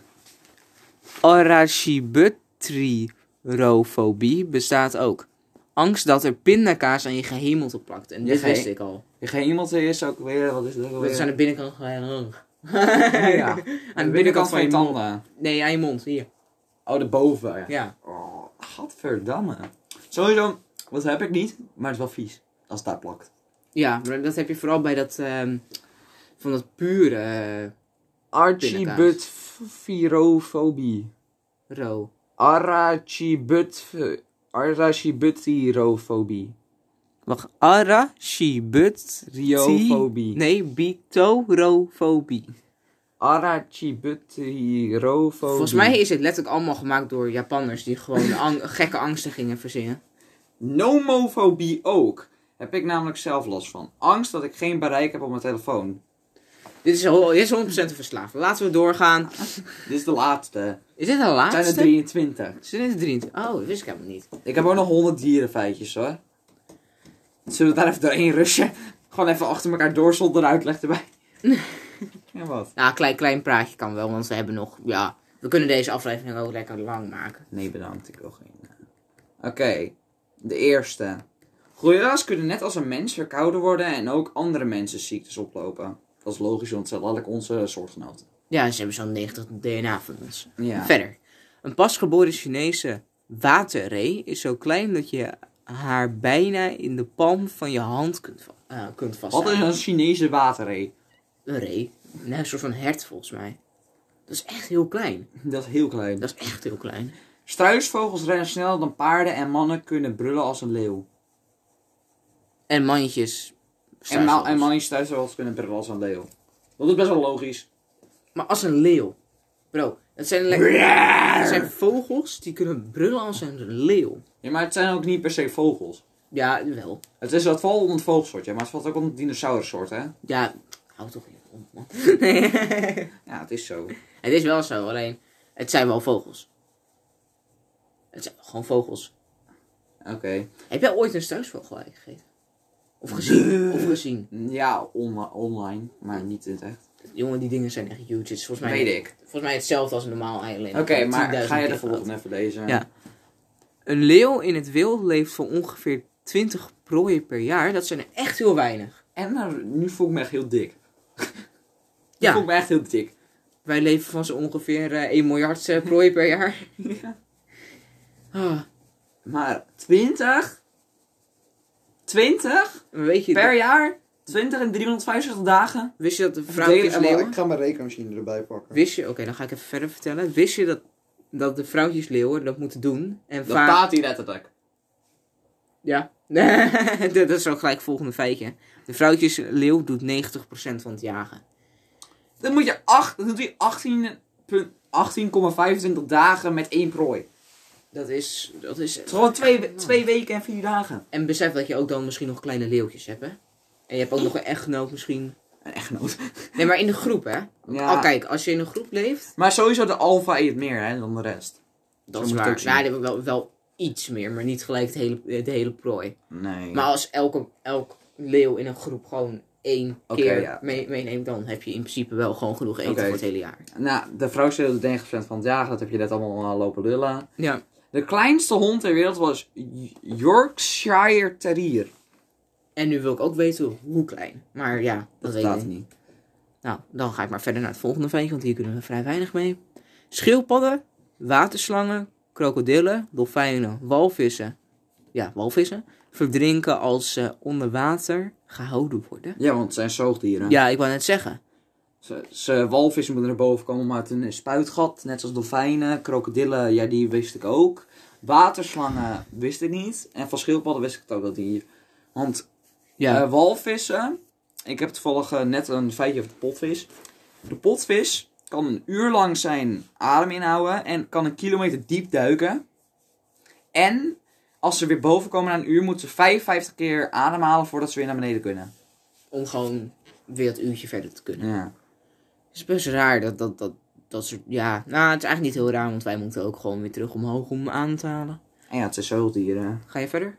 Speaker 2: Arachibutryrofobie bestaat ook. Angst dat er pindakaas aan je gehemel te plakt. En dit
Speaker 1: Je
Speaker 2: wist
Speaker 1: ge-
Speaker 2: ik al.
Speaker 1: Geen iemand is ook weer, wat is dat ook
Speaker 2: Dat is aan de binnenkant van
Speaker 1: ja,
Speaker 2: je
Speaker 1: ja.
Speaker 2: Oh, <laughs> Aan de, binnenkant van je mond.
Speaker 1: tanden.
Speaker 2: Nee, aan je mond. Hier.
Speaker 1: Oh, de boven.
Speaker 2: Ja.
Speaker 1: Oh, gadverdamme. Sowieso, wat heb ik niet, maar het is wel vies. Als het daar plakt.
Speaker 2: Ja, maar dat heb je vooral bij dat... ehm, van dat pure eh,
Speaker 1: Archibutvirofobie.
Speaker 2: ro.
Speaker 1: Arachibut... Arachibutirofobie.
Speaker 2: Wacht. Arachibut...
Speaker 1: Riofobie.
Speaker 2: Nee, bitorofobie.
Speaker 1: Arachibutirofobie.
Speaker 2: Volgens mij is het letterlijk allemaal gemaakt door Japanners die gewoon ang- gekke angsten gingen verzinnen.
Speaker 1: Nomofobie ook. Heb ik namelijk zelf last van. Angst dat ik geen bereik heb op mijn telefoon.
Speaker 2: Dit is, ho- dit is 100% verslaafd. Laten we doorgaan.
Speaker 1: Dit is de laatste.
Speaker 2: Is dit
Speaker 1: Het
Speaker 2: de
Speaker 1: zijn er
Speaker 2: laatste?
Speaker 1: 23.
Speaker 2: Zijn er 23? Oh, dat wist ik helemaal niet.
Speaker 1: Ik heb ook nog 100 dierenfeitjes hoor. Zullen we daar even doorheen rushen? Gewoon even achter elkaar door zonder uitleg erbij. ja, wat?
Speaker 2: Nou, klein, klein praatje kan wel, want we hebben nog... Ja, we kunnen deze aflevering ook lekker lang maken.
Speaker 1: Nee, bedankt. Ik wil geen. eh. Oké, de eerste. Gorilla's kunnen net als een mens verkouden worden en ook andere mensen ziektes oplopen. Dat is logisch, want ze zijn ik onze soortgenoten.
Speaker 2: Ja, ze hebben zo'n 90 DNA van ons.
Speaker 1: Ja.
Speaker 2: Verder. Een pasgeboren Chinese waterree is zo klein dat je haar bijna in de palm van je hand kunt, va- eh, kunt
Speaker 1: Wat
Speaker 2: vasthouden.
Speaker 1: is een Chinese waterree?
Speaker 2: Een ree. Nee, een soort van hert volgens mij. Dat is echt heel klein.
Speaker 1: Dat is heel klein.
Speaker 2: Dat is echt heel klein.
Speaker 1: Struisvogels rennen sneller dan paarden en mannen kunnen brullen als een leeuw.
Speaker 2: En mannetjes.
Speaker 1: En, ma en
Speaker 2: struisvogels.
Speaker 1: mannen struisvogels kunnen brullen als een leeuw. Dat is best wel logisch.
Speaker 2: Maar als een leeuw. Bro, het zijn, lekker- het zijn vogels die kunnen brullen als een leeuw.
Speaker 1: Ja, maar het zijn ook niet per se vogels.
Speaker 2: Ja, wel.
Speaker 1: Het is wat valt onder het vogelsoort, ja, maar het valt ook onder het dinosaurussoort, hè?
Speaker 2: Ja, hou toch even op, man. <laughs>
Speaker 1: Ja, het is zo.
Speaker 2: Het is wel zo, alleen het zijn wel vogels. Het zijn gewoon vogels.
Speaker 1: Oké.
Speaker 2: Heb jij ooit een struisvogel gegeten? Of gezien? Of gezien?
Speaker 1: Ja, on- online, maar niet in het echt.
Speaker 2: Jongen, die dingen zijn echt huge. Het is volgens mij
Speaker 1: Weet ik.
Speaker 2: Volgens mij hetzelfde als een normaal ei. alleen
Speaker 1: Oké,
Speaker 2: dat het
Speaker 1: maar
Speaker 2: 10.000
Speaker 1: ga je de
Speaker 2: keer
Speaker 1: volgende even lezen?
Speaker 2: Ja. Een leeuw in het wild leeft van ongeveer 20 prooien per jaar. Dat zijn er echt heel weinig.
Speaker 1: En nou, nu voel ik me echt heel dik. Ja.
Speaker 2: Ja.
Speaker 1: Nu voel ik me echt heel dik.
Speaker 2: Wij leven van zo ongeveer eh 1 miljard eh, prooien per jaar.
Speaker 1: <laughs> Ja.
Speaker 2: Ah,
Speaker 1: Maar 20? 20
Speaker 2: maar weet je,
Speaker 1: per jaar? 20 en 365 dagen?
Speaker 2: wist je dat de vrouwtjes
Speaker 3: Ik
Speaker 2: leeuwen...
Speaker 3: ga mijn rekenmachine erbij pakken.
Speaker 2: Wist je, oké, dan ga ik even verder vertellen. Wist je dat, dat de vrouwtjes leeuwen dat moeten doen? En
Speaker 1: Dat
Speaker 2: vaak...
Speaker 1: staat hier letterlijk.
Speaker 2: Ja. <laughs> dat dat is ook gelijk het volgende feitje. De vrouwtjes leeuw doet 90% van het jagen.
Speaker 1: Dan moet je acht- dan doet hij 18 punt- 18,25 dagen met één prooi.
Speaker 2: Dat is... Dat is
Speaker 1: Het is gewoon twee, twee weken en vier dagen.
Speaker 2: En besef dat je ook dan misschien nog kleine leeuwtjes hebt, hè? En je hebt ook nog een echtgenoot misschien.
Speaker 1: Een echtgenoot. <laughs>
Speaker 2: Nee, maar in de groep, hè?
Speaker 1: Ja.
Speaker 2: Oh, kijk, als je in een groep leeft...
Speaker 1: Maar sowieso de alfa eet meer hè, dan de rest.
Speaker 2: Dat
Speaker 1: Zo
Speaker 2: is
Speaker 1: moet het ook
Speaker 2: waar.
Speaker 1: zien.
Speaker 2: Nou, die hebben wel, wel iets meer, maar niet gelijk de hele, de hele prooi.
Speaker 1: Nee.
Speaker 3: Nou.
Speaker 2: Maar als elke, elk leeuw in een groep gewoon één
Speaker 1: Oké,
Speaker 2: keer
Speaker 1: ja.
Speaker 2: mee- meeneemt... dan heb je in principe wel gewoon genoeg eten
Speaker 1: Oké.
Speaker 2: voor het hele jaar.
Speaker 1: Nou, de vrouw steelt 90% van het jagen. Dat heb je net allemaal eh, lopen lullen.
Speaker 2: Ja.
Speaker 1: De kleinste hond ter wereld was Y- Yorkshire Terrier.
Speaker 2: En nu wil ik ook weten hoe klein. Maar ja, dat,
Speaker 1: Dat
Speaker 2: weet
Speaker 1: staat
Speaker 2: ik niet.
Speaker 1: niet.
Speaker 2: Nou, dan ga ik maar verder naar het volgende veentje, want hier kunnen we vrij weinig mee. Schildpadden, waterslangen, krokodillen, dolfijnen, walvissen. Ja, walvissen. Verdrinken als ze onder water gehouden worden.
Speaker 1: Ja, want het zijn zoogdieren.
Speaker 2: Ja, ik wou net zeggen.
Speaker 1: Ze, ze- walvissen moeten naar boven komen uit een spuitgat. Net zoals dolfijnen, krokodillen, ja, die wist ik ook. Waterslangen wist ik niet. En van schildpadden wist ik het ook dat die. Want
Speaker 2: Ja,
Speaker 1: Eh, walvissen. Ik heb toevallig eh, net een feitje over de potvis. De potvis kan een uur lang zijn adem inhouden en kan een kilometer diep duiken. En als ze weer boven komen na een uur, moeten ze 55 keer ademhalen voordat ze weer naar beneden kunnen.
Speaker 2: om gewoon weer het uurtje verder te kunnen.
Speaker 1: Ja.
Speaker 2: Het is best raar dat dat, dat, dat soort... Ja, nou, het is eigenlijk niet heel raar, want wij moeten ook gewoon weer terug omhoog om aan te halen.
Speaker 1: En ja, het zijn zoogdieren.
Speaker 2: Ga je verder?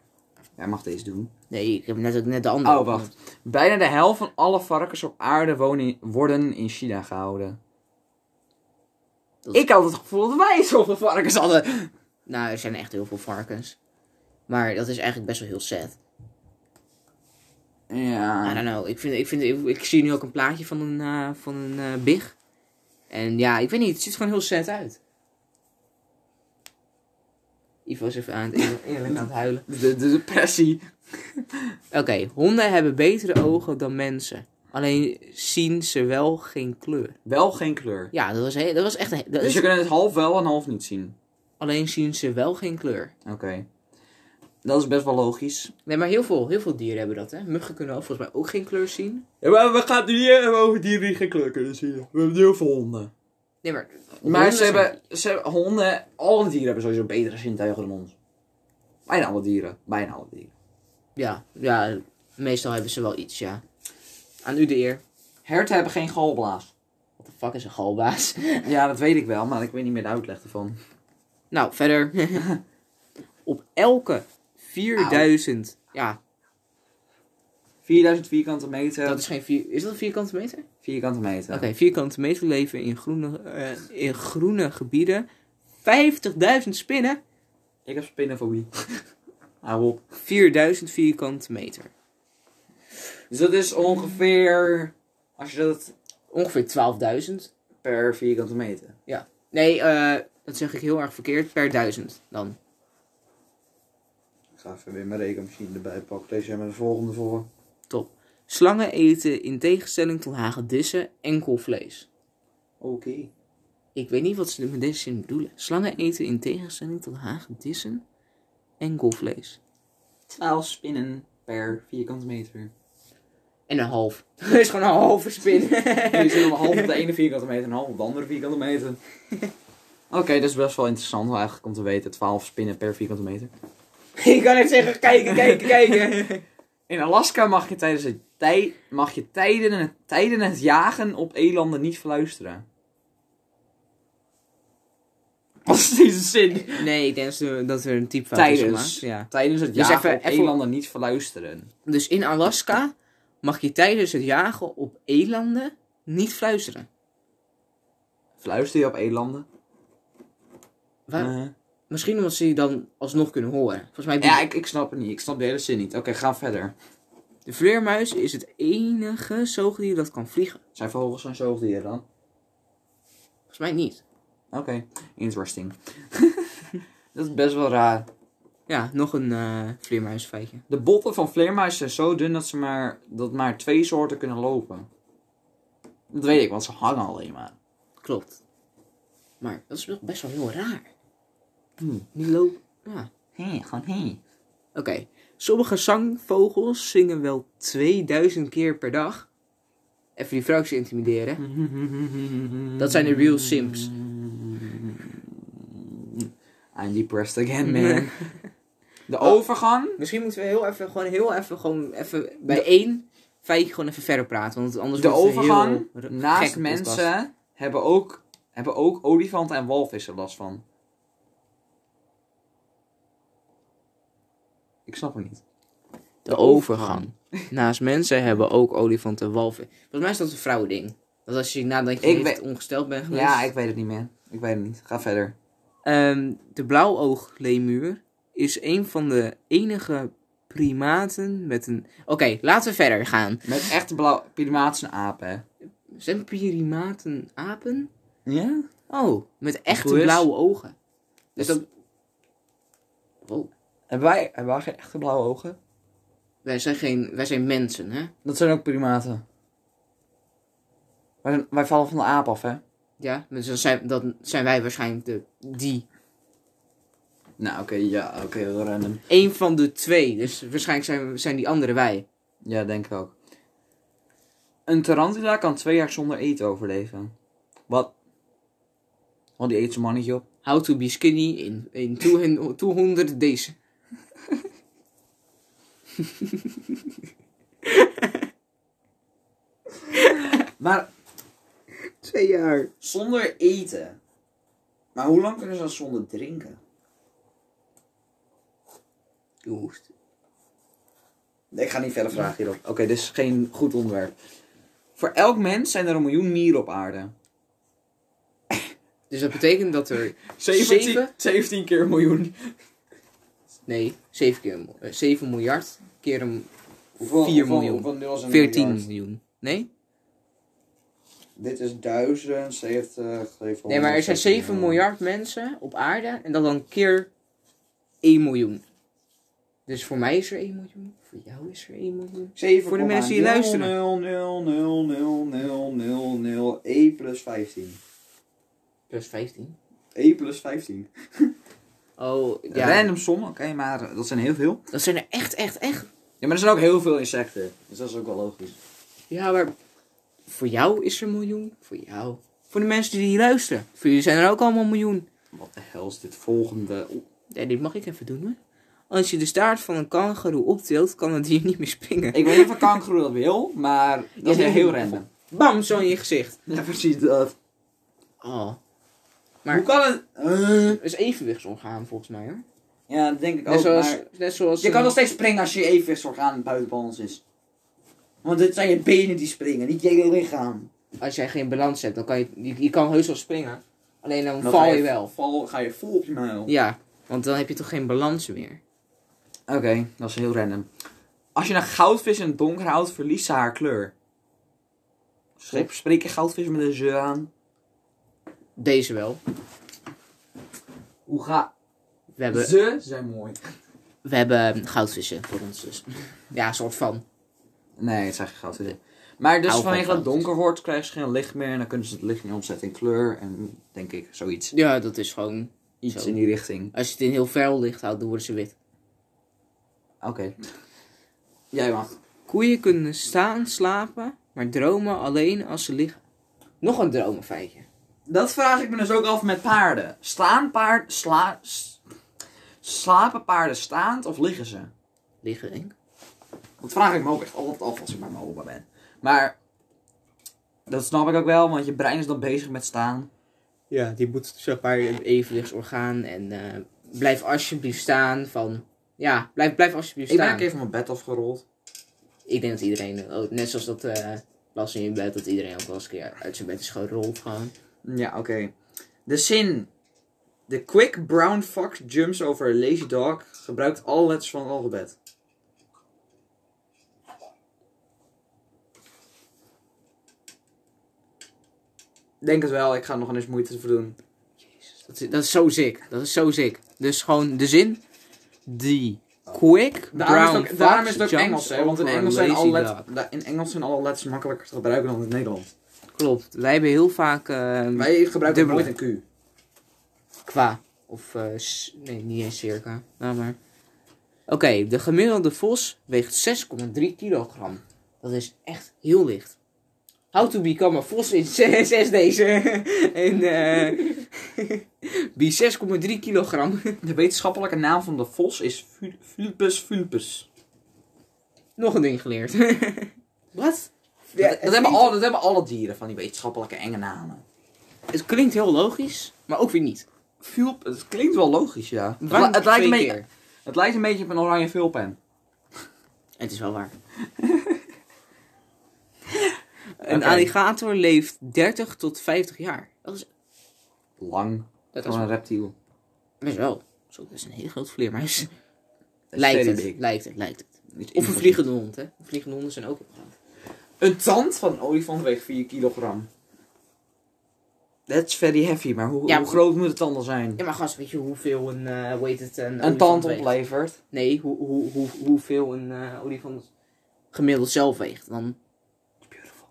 Speaker 1: Jij mag deze doen.
Speaker 2: Nee, ik heb net, ook net de andere.
Speaker 1: Oh, wacht. Bijna de helft van alle varkens op aarde wonen, worden in China gehouden.
Speaker 2: Dat-
Speaker 1: Ik had het gevoel dat wij zoveel varkens hadden.
Speaker 2: Nou, er zijn echt heel veel varkens. Maar dat is eigenlijk best wel heel sad. I
Speaker 1: Ja.
Speaker 2: don't know. Ik, vind, ik, vind, ik, ik zie nu ook een plaatje van een, eh, van een eh, big. En ja, ik weet niet. Het ziet er gewoon heel sad uit. Ivo is even aan het, eerlijk aan het huilen.
Speaker 1: De, de depressie.
Speaker 2: Oké, honden hebben betere ogen dan mensen. Alleen zien ze wel geen kleur.
Speaker 1: Wel geen kleur.
Speaker 2: Ja, dat was, he- dat was echt... een he- dat
Speaker 1: Dus
Speaker 2: is-
Speaker 1: je kunt het half wel en half niet zien.
Speaker 2: Alleen zien ze wel geen kleur.
Speaker 1: Oké. Dat is best wel logisch.
Speaker 2: Nee, maar heel veel, heel veel dieren hebben dat, hè. Muggen kunnen ook volgens mij ook geen kleur zien.
Speaker 1: Ja, maar we gaan het nu niet hebben over dieren die geen kleur kunnen zien. We hebben heel veel honden.
Speaker 2: Nee, maar...
Speaker 1: Maar
Speaker 2: honden
Speaker 1: ze
Speaker 2: zijn-
Speaker 1: hebben, ze hebben honden, alle dieren hebben sowieso betere zintuigen dan ons. Bijna alle dieren. Bijna alle dieren.
Speaker 2: Ja, ja, meestal hebben ze wel iets, ja. Aan u de eer.
Speaker 1: Herten hebben geen galblaas.
Speaker 2: Wat de fuck is een galbaas? <laughs>
Speaker 1: Ja, dat weet ik wel, maar ik weet niet meer de uitleg ervan.
Speaker 2: nou, verder.
Speaker 1: <laughs>
Speaker 2: Op elke 4000. Ja,
Speaker 1: 4000 vierkante meter.
Speaker 2: dat is geen vier. Is dat een vierkante meter?
Speaker 1: Vierkante meter.
Speaker 2: Oké, vierkante meter leven in groene, eh, in groene gebieden. 50.000 spinnen.
Speaker 1: Ik heb spinnenfobie. <laughs> Hou op.
Speaker 2: 4000 vierkante meter.
Speaker 1: Dus dat is ongeveer, als je dat
Speaker 2: Ongeveer 12.000.
Speaker 1: per vierkante meter.
Speaker 2: Nee, eh, dat zeg ik heel erg verkeerd. Per duizend dan.
Speaker 1: Ik ga even weer mijn rekenmachine erbij pakken. Deze hebben we de volgende voor.
Speaker 2: Top. Slangen eten in tegenstelling tot hagedissen enkel vlees.
Speaker 1: Oké.
Speaker 2: Ik weet niet wat ze met deze zin bedoelen. Slangen eten in tegenstelling tot hagedissen enkel vlees.
Speaker 1: 12 spinnen per vierkante
Speaker 2: <laughs>
Speaker 1: meter.
Speaker 2: En een half. <laughs> Dat is gewoon een halve spin. <laughs>
Speaker 1: Jullie zitten dan half op de ene vierkante meter en half op de andere vierkante
Speaker 2: <laughs>
Speaker 1: meter. Oké, dat is best wel interessant eigenlijk om te weten. 12 spinnen per vierkante meter.
Speaker 2: Ik kan net zeggen, kijken, kijken, kijken.
Speaker 1: In Alaska mag je tijdens het tij mag je tijden, het, tijden het jagen op elanden niet fluisteren. <laughs> Wat is deze zin?
Speaker 2: Nee, ik denk dat ze- dat er een typfout is
Speaker 1: Tijdens.
Speaker 2: gemaakt. Ja.
Speaker 1: Tijdens het
Speaker 2: Dus
Speaker 1: jagen
Speaker 2: even-
Speaker 1: op
Speaker 2: even-
Speaker 1: elanden niet fluisteren.
Speaker 2: Dus in Alaska mag je tijdens het jagen op elanden niet fluisteren.
Speaker 1: Fluister je op elanden?
Speaker 2: Waar-
Speaker 1: Eh.
Speaker 2: Misschien omdat ze je dan alsnog kunnen horen. Volgens mij
Speaker 1: Ja, ik, ik snap het niet. Ik snap de hele zin niet. Oké, ga verder.
Speaker 2: de vleermuis is het enige zoogdier dat kan vliegen.
Speaker 1: Zijn vogels zijn zoogdieren dan?
Speaker 2: Volgens mij niet.
Speaker 1: Oké, interesting. <laughs> dat is best wel raar.
Speaker 2: Ja, nog een eh vleermuisfeitje.
Speaker 1: De botten van vleermuizen zijn zo dun dat, ze maar, dat maar twee soorten kunnen lopen. Dat weet ik, want ze hangen alleen maar.
Speaker 2: Klopt. Maar dat is toch best wel heel raar.
Speaker 1: Hmm.
Speaker 2: Die lopen. Ja.
Speaker 1: Hé, gewoon hé.
Speaker 2: Oké. Sommige zangvogels zingen wel 2000 keer per dag. Even die vrouwtjes intimideren. Dat zijn de real simps.
Speaker 1: I'm depressed <laughs> again, man. De overgang?
Speaker 2: Misschien moeten we heel even, gewoon heel even, gewoon even bij één feitje gewoon even verder praten. Want anders
Speaker 1: De
Speaker 2: wordt het een
Speaker 1: overgang
Speaker 2: heel r-
Speaker 1: naast
Speaker 2: gekke podcast.
Speaker 1: mensen hebben ook, hebben ook olifanten en walvissen last van. Ik snap het niet.
Speaker 2: De overgang. Naast mensen hebben ook olifanten en walvissen. Volgens mij is dat een vrouwending. Dat als je nadat je
Speaker 1: Ik
Speaker 2: heeft
Speaker 1: weet-
Speaker 2: ongesteld bent geweest.
Speaker 1: Ja, ik weet het niet meer. Ik weet het niet. Ga verder.
Speaker 2: Eh, Ehm, de blauwooglemuur is een van de enige primaten met een... Oké, laten we verder gaan.
Speaker 1: Met echte blauw primaten en apen, hè?
Speaker 2: Zijn primaten apen?
Speaker 1: Ja?
Speaker 2: Oh, met echte
Speaker 1: Hoe is-
Speaker 2: blauwe ogen. Dus Oh,
Speaker 1: Dus-
Speaker 2: dat... Wow.
Speaker 1: Hebben wij, hebben wij geen echte blauwe ogen?
Speaker 2: Wij zijn, geen, wij zijn mensen, hè?
Speaker 1: Dat zijn ook primaten. Wij, zijn- wij vallen van de aap af, hè?
Speaker 2: Ja, dus dan zijn, dan zijn wij waarschijnlijk de, die.
Speaker 1: Nou, oké, ja, oké, heel random.
Speaker 2: Eén van de twee. Dus waarschijnlijk zijn, zijn die andere wij.
Speaker 1: Ja, denk ik ook. Een tarantula kan twee jaar zonder eten overleven. Wat? Want die eet zijn mannetje op.
Speaker 2: How to be skinny in, in 200 200 days.
Speaker 1: Maar
Speaker 2: Twee jaar.
Speaker 1: zonder eten. Maar hoe lang kunnen ze dan zonder drinken? Ik ga niet verder vragen hierop. Oké, dit is geen goed onderwerp. Voor elk mens zijn er een miljoen mieren op aarde.
Speaker 2: Dus dat betekent dat er...
Speaker 1: 17,
Speaker 2: Zeven?
Speaker 1: 17 keer een miljoen.
Speaker 2: Nee, 7, keer, een- eh, 7 miljard keer een...
Speaker 1: Hoeveel,
Speaker 2: Vier miljoen.
Speaker 1: nul is een
Speaker 2: 14
Speaker 1: miljard?
Speaker 2: miljoen. Nee?
Speaker 1: Dit is 1000, 70, 700.
Speaker 2: Nee, maar er zijn 7 miljard mensen op aarde. En dat dan keer 1 miljoen. Dus voor mij is er 1 miljoen. Voor jou is er 1 miljoen.
Speaker 1: 7,
Speaker 2: Voor de mensen die luisteren.
Speaker 1: 0, 0, 0, 0, 0, 0, 0, E plus 15.
Speaker 2: Plus 15.
Speaker 1: E plus 15.
Speaker 2: Oh, ja.
Speaker 1: Random som, oké, maar dat zijn heel veel.
Speaker 2: Dat zijn er echt, echt, echt.
Speaker 1: Ja, maar er zijn ook heel veel insecten. Dus dat is ook wel logisch.
Speaker 2: Ja, maar voor jou is er een miljoen. Voor jou. Voor de mensen die hier luisteren. Voor jullie zijn er ook allemaal een miljoen.
Speaker 1: Wat de hel is dit volgende? Oeh,
Speaker 2: Ja, dit mag ik even doen hoor. Als je de staart van een kangeroe optilt, kan het hier niet meer springen.
Speaker 1: Ik weet niet of een kangoeroe dat wil, maar dat is
Speaker 2: nee.
Speaker 1: heel random.
Speaker 2: Bam, zo in je gezicht.
Speaker 1: Ja, precies dat.
Speaker 2: Oh. Maar-
Speaker 1: Maar... Hoe kan het? Eh,
Speaker 2: Dat is evenwichtsorgaan volgens mij hoor.
Speaker 1: ja, dat denk ik
Speaker 2: Net
Speaker 1: ook,
Speaker 2: zoals,
Speaker 1: maar...
Speaker 2: net zoals eh,
Speaker 1: Je kan
Speaker 2: een-
Speaker 1: nog steeds springen als je evenwichtsorgaan buiten balans is. Want dit zijn je benen die springen, niet je hele lichaam.
Speaker 2: als jij geen balans hebt, dan kan je, je, je kan heus wel springen. Alleen dan,
Speaker 1: Dan
Speaker 2: val
Speaker 1: ga
Speaker 2: je, wel.
Speaker 1: Val, ga je vol op je muil.
Speaker 2: Ja, want dan heb je toch geen balans meer.
Speaker 1: Oké, dat is heel random. Als je een goudvis in het donker houdt, verliest ze haar kleur. Schrik, spreek je goudvis met een ze aan?
Speaker 2: Deze wel.
Speaker 1: Hoe ga...
Speaker 2: We hebben,
Speaker 1: Ze zijn mooi.
Speaker 2: we hebben ehm, goudvissen voor ons dus. Ja, soort van.
Speaker 1: Nee, het zijn geen goudvissen. Maar dus
Speaker 2: Hou van
Speaker 1: vanwege dat het
Speaker 2: goudvis.
Speaker 1: donker wordt, krijgen ze geen licht meer. En dan kunnen ze het licht niet omzetten in kleur. En denk ik, zoiets.
Speaker 2: Ja, dat is gewoon.
Speaker 1: Iets
Speaker 2: Zo.
Speaker 1: in die richting.
Speaker 2: Als je het in heel fel licht houdt, dan worden ze wit.
Speaker 1: Oké. Jij mag.
Speaker 2: Koeien kunnen staan, slapen, maar dromen alleen als ze liggen. Nog een dromenfeitje.
Speaker 1: Dat vraag ik me dus ook af met paarden. Staan paarden... Sla, s- slapen paarden staand of liggen ze?
Speaker 2: Liggen, denk ik.
Speaker 1: Dat vraag ik me ook echt altijd af als ik bij mijn opa ben. Maar dat snap ik ook wel, want je brein is dan bezig met staan.
Speaker 2: Ja, die moet dus zeg maar een evenwichtsorgaan en eh, blijf alsjeblieft staan van... Ja, blijf, blijf alsjeblieft
Speaker 1: Ik ben
Speaker 2: staan.
Speaker 1: een keer van mijn bed afgerold.
Speaker 2: Ik denk dat iedereen, ook- net zoals dat eh Las in je bed, dat iedereen ook wel eens een keer uit zijn bed is gerold gewoon.
Speaker 1: Ja, oké. De zin. The quick brown fox jumps over a lazy dog gebruikt alle letters van het alfabet. Denk het wel, ik ga er nog eens moeite voor doen.
Speaker 2: Dus Dat is, dat is zo ziek. Dat is zo ziek. Dus gewoon de zin. Die. Quick.
Speaker 1: Daarom is het
Speaker 2: brown
Speaker 1: ook, daarom
Speaker 2: fox
Speaker 1: is het ook
Speaker 2: jumps
Speaker 1: Engels, hè? Want in
Speaker 2: over a
Speaker 1: Engels, zijn
Speaker 2: lazy
Speaker 1: alle
Speaker 2: dog.
Speaker 1: letters, da- in Engels zijn alle letters makkelijker te gebruiken dan in het Nederlands.
Speaker 2: Klopt. Wij hebben heel vaak eh,
Speaker 1: Wij gebruiken
Speaker 2: Dubbele.
Speaker 1: nooit een Q.
Speaker 2: qua. Of eh, s- nee, niet eens circa. Nou maar. Oké, de gemiddelde vos weegt 6,3 kilogram. Dat is echt heel licht. How to become a vos in <laughs> 6 deze. en eh <laughs> be 6,3 kilogram. <laughs>
Speaker 1: De wetenschappelijke naam van de vos is Fu- Vulpes vulpes.
Speaker 2: Nog een ding geleerd. <laughs> Wat?
Speaker 1: dat, dat hebben alle, dat hebben alle dieren van die wetenschappelijke enge namen.
Speaker 2: Het klinkt heel logisch, maar ook weer niet.
Speaker 1: Vulp, het klinkt wel logisch, ja. Het,
Speaker 2: Waarom
Speaker 1: li- het lijkt een
Speaker 2: twee
Speaker 1: beetje, het lijkt een beetje op een oranje vulpen.
Speaker 2: Het is wel
Speaker 1: <laughs>
Speaker 2: waar. een
Speaker 1: Oké.
Speaker 2: alligator leeft 30 tot 50 jaar. Dat is,
Speaker 1: Lang.
Speaker 2: dat is,
Speaker 1: Gewoon een reptiel.
Speaker 2: Best wel. Zo, dat is een heel groot vleermuis.
Speaker 1: Dat is
Speaker 2: Lijkt
Speaker 1: very
Speaker 2: het,
Speaker 1: big.
Speaker 2: lijkt het, lijkt het.
Speaker 1: Niet
Speaker 2: Of een
Speaker 1: impossible.
Speaker 2: vliegende hond, hè. Vliegende honden zijn ook heel groot.
Speaker 1: Een tand van een olifant weegt 4 kilogram. That's very heavy, maar hoe,
Speaker 2: Ja,
Speaker 1: hoe
Speaker 2: maar-
Speaker 1: groot moet het dan wel zijn?
Speaker 2: Ja, maar gast, weet je hoeveel een, eh hoe heet het, een,
Speaker 1: een
Speaker 2: olifant
Speaker 1: tand
Speaker 2: weegt?
Speaker 1: oplevert.
Speaker 2: Nee, hoe, hoe, hoe, hoeveel een eh olifant gemiddeld zelf weegt. Dan
Speaker 1: Beautiful.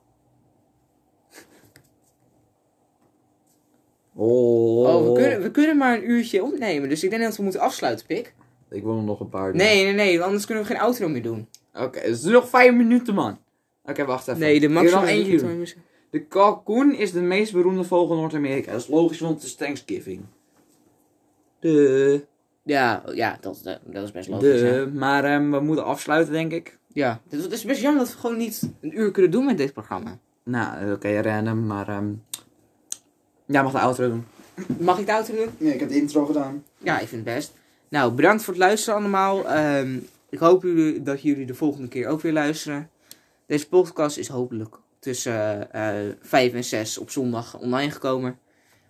Speaker 1: Oh.
Speaker 2: Oh, we kunnen, we kunnen maar een uurtje opnemen. Dus ik denk dat we moeten afsluiten, Pik.
Speaker 1: Ik wil er nog een paar doen.
Speaker 2: Nee, nee, nee. Anders kunnen we geen outro meer doen.
Speaker 1: Oké, dus nog 5 minuten, man. Oké, wacht even.
Speaker 2: Nee, de
Speaker 1: Ik wil
Speaker 2: maximum.
Speaker 1: nog eentje doen. De kalkoen is de meest beroemde vogel in Noord-Amerika. Dat is logisch, want het is Thanksgiving. De,
Speaker 2: Ja, ja dat, dat, dat is best logisch. hè.
Speaker 1: de, maar ehm, we moeten afsluiten, denk ik.
Speaker 2: Ja, het is- het is best jammer dat we gewoon niet een uur kunnen doen met dit programma.
Speaker 1: Nou, oké, random, maar... ehm jij mag de outro doen.
Speaker 2: Mag ik de outro doen?
Speaker 1: Nee, ik heb de intro gedaan.
Speaker 2: Ja, ik vind het best. Nou, bedankt voor het luisteren allemaal. Ehm, ik hoop jullie, dat jullie de volgende keer ook weer luisteren. Deze podcast is hopelijk tussen eh 5 en 6 op zondag online gekomen.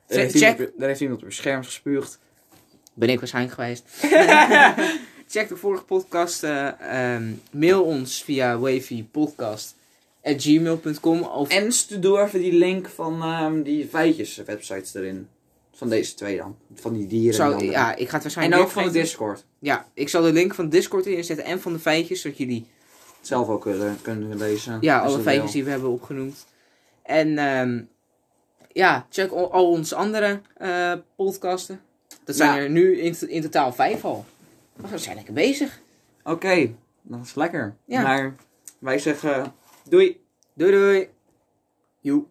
Speaker 1: Daar heeft,
Speaker 2: Check,
Speaker 1: Iemand, daar heeft iemand op je scherm gespuugd.
Speaker 2: Eh, ben ik waarschijnlijk geweest. <laughs> Check de vorige podcasten. ehm, mail ons via wavypodcast.gmail.com of
Speaker 1: En studeer even die link van ehm, die feitjes websites erin. Van deze twee dan. eh. Van die dieren en
Speaker 2: zou,
Speaker 1: die
Speaker 2: ja, ik ga het
Speaker 1: andere. En
Speaker 2: waarschijnlijk
Speaker 1: ook
Speaker 2: weer
Speaker 1: van de
Speaker 2: vergeten.
Speaker 1: Discord.
Speaker 2: Ja, ik zal de link van Discord erin zetten en van de feitjes, zodat jullie
Speaker 1: Zelf ook kunnen, kunnen lezen.
Speaker 2: ja,
Speaker 1: als
Speaker 2: alle
Speaker 1: je
Speaker 2: feitjes
Speaker 1: wil.
Speaker 2: die we hebben opgenoemd. En ehm, ja, check al, al onze andere eh, podcasten. Dat zijn
Speaker 1: Ja.
Speaker 2: er nu in, in totaal vijf al. Maar we zijn lekker bezig.
Speaker 1: Oké, dat is lekker.
Speaker 2: Ja.
Speaker 1: Maar wij zeggen doei.
Speaker 2: Doei doei. Joe.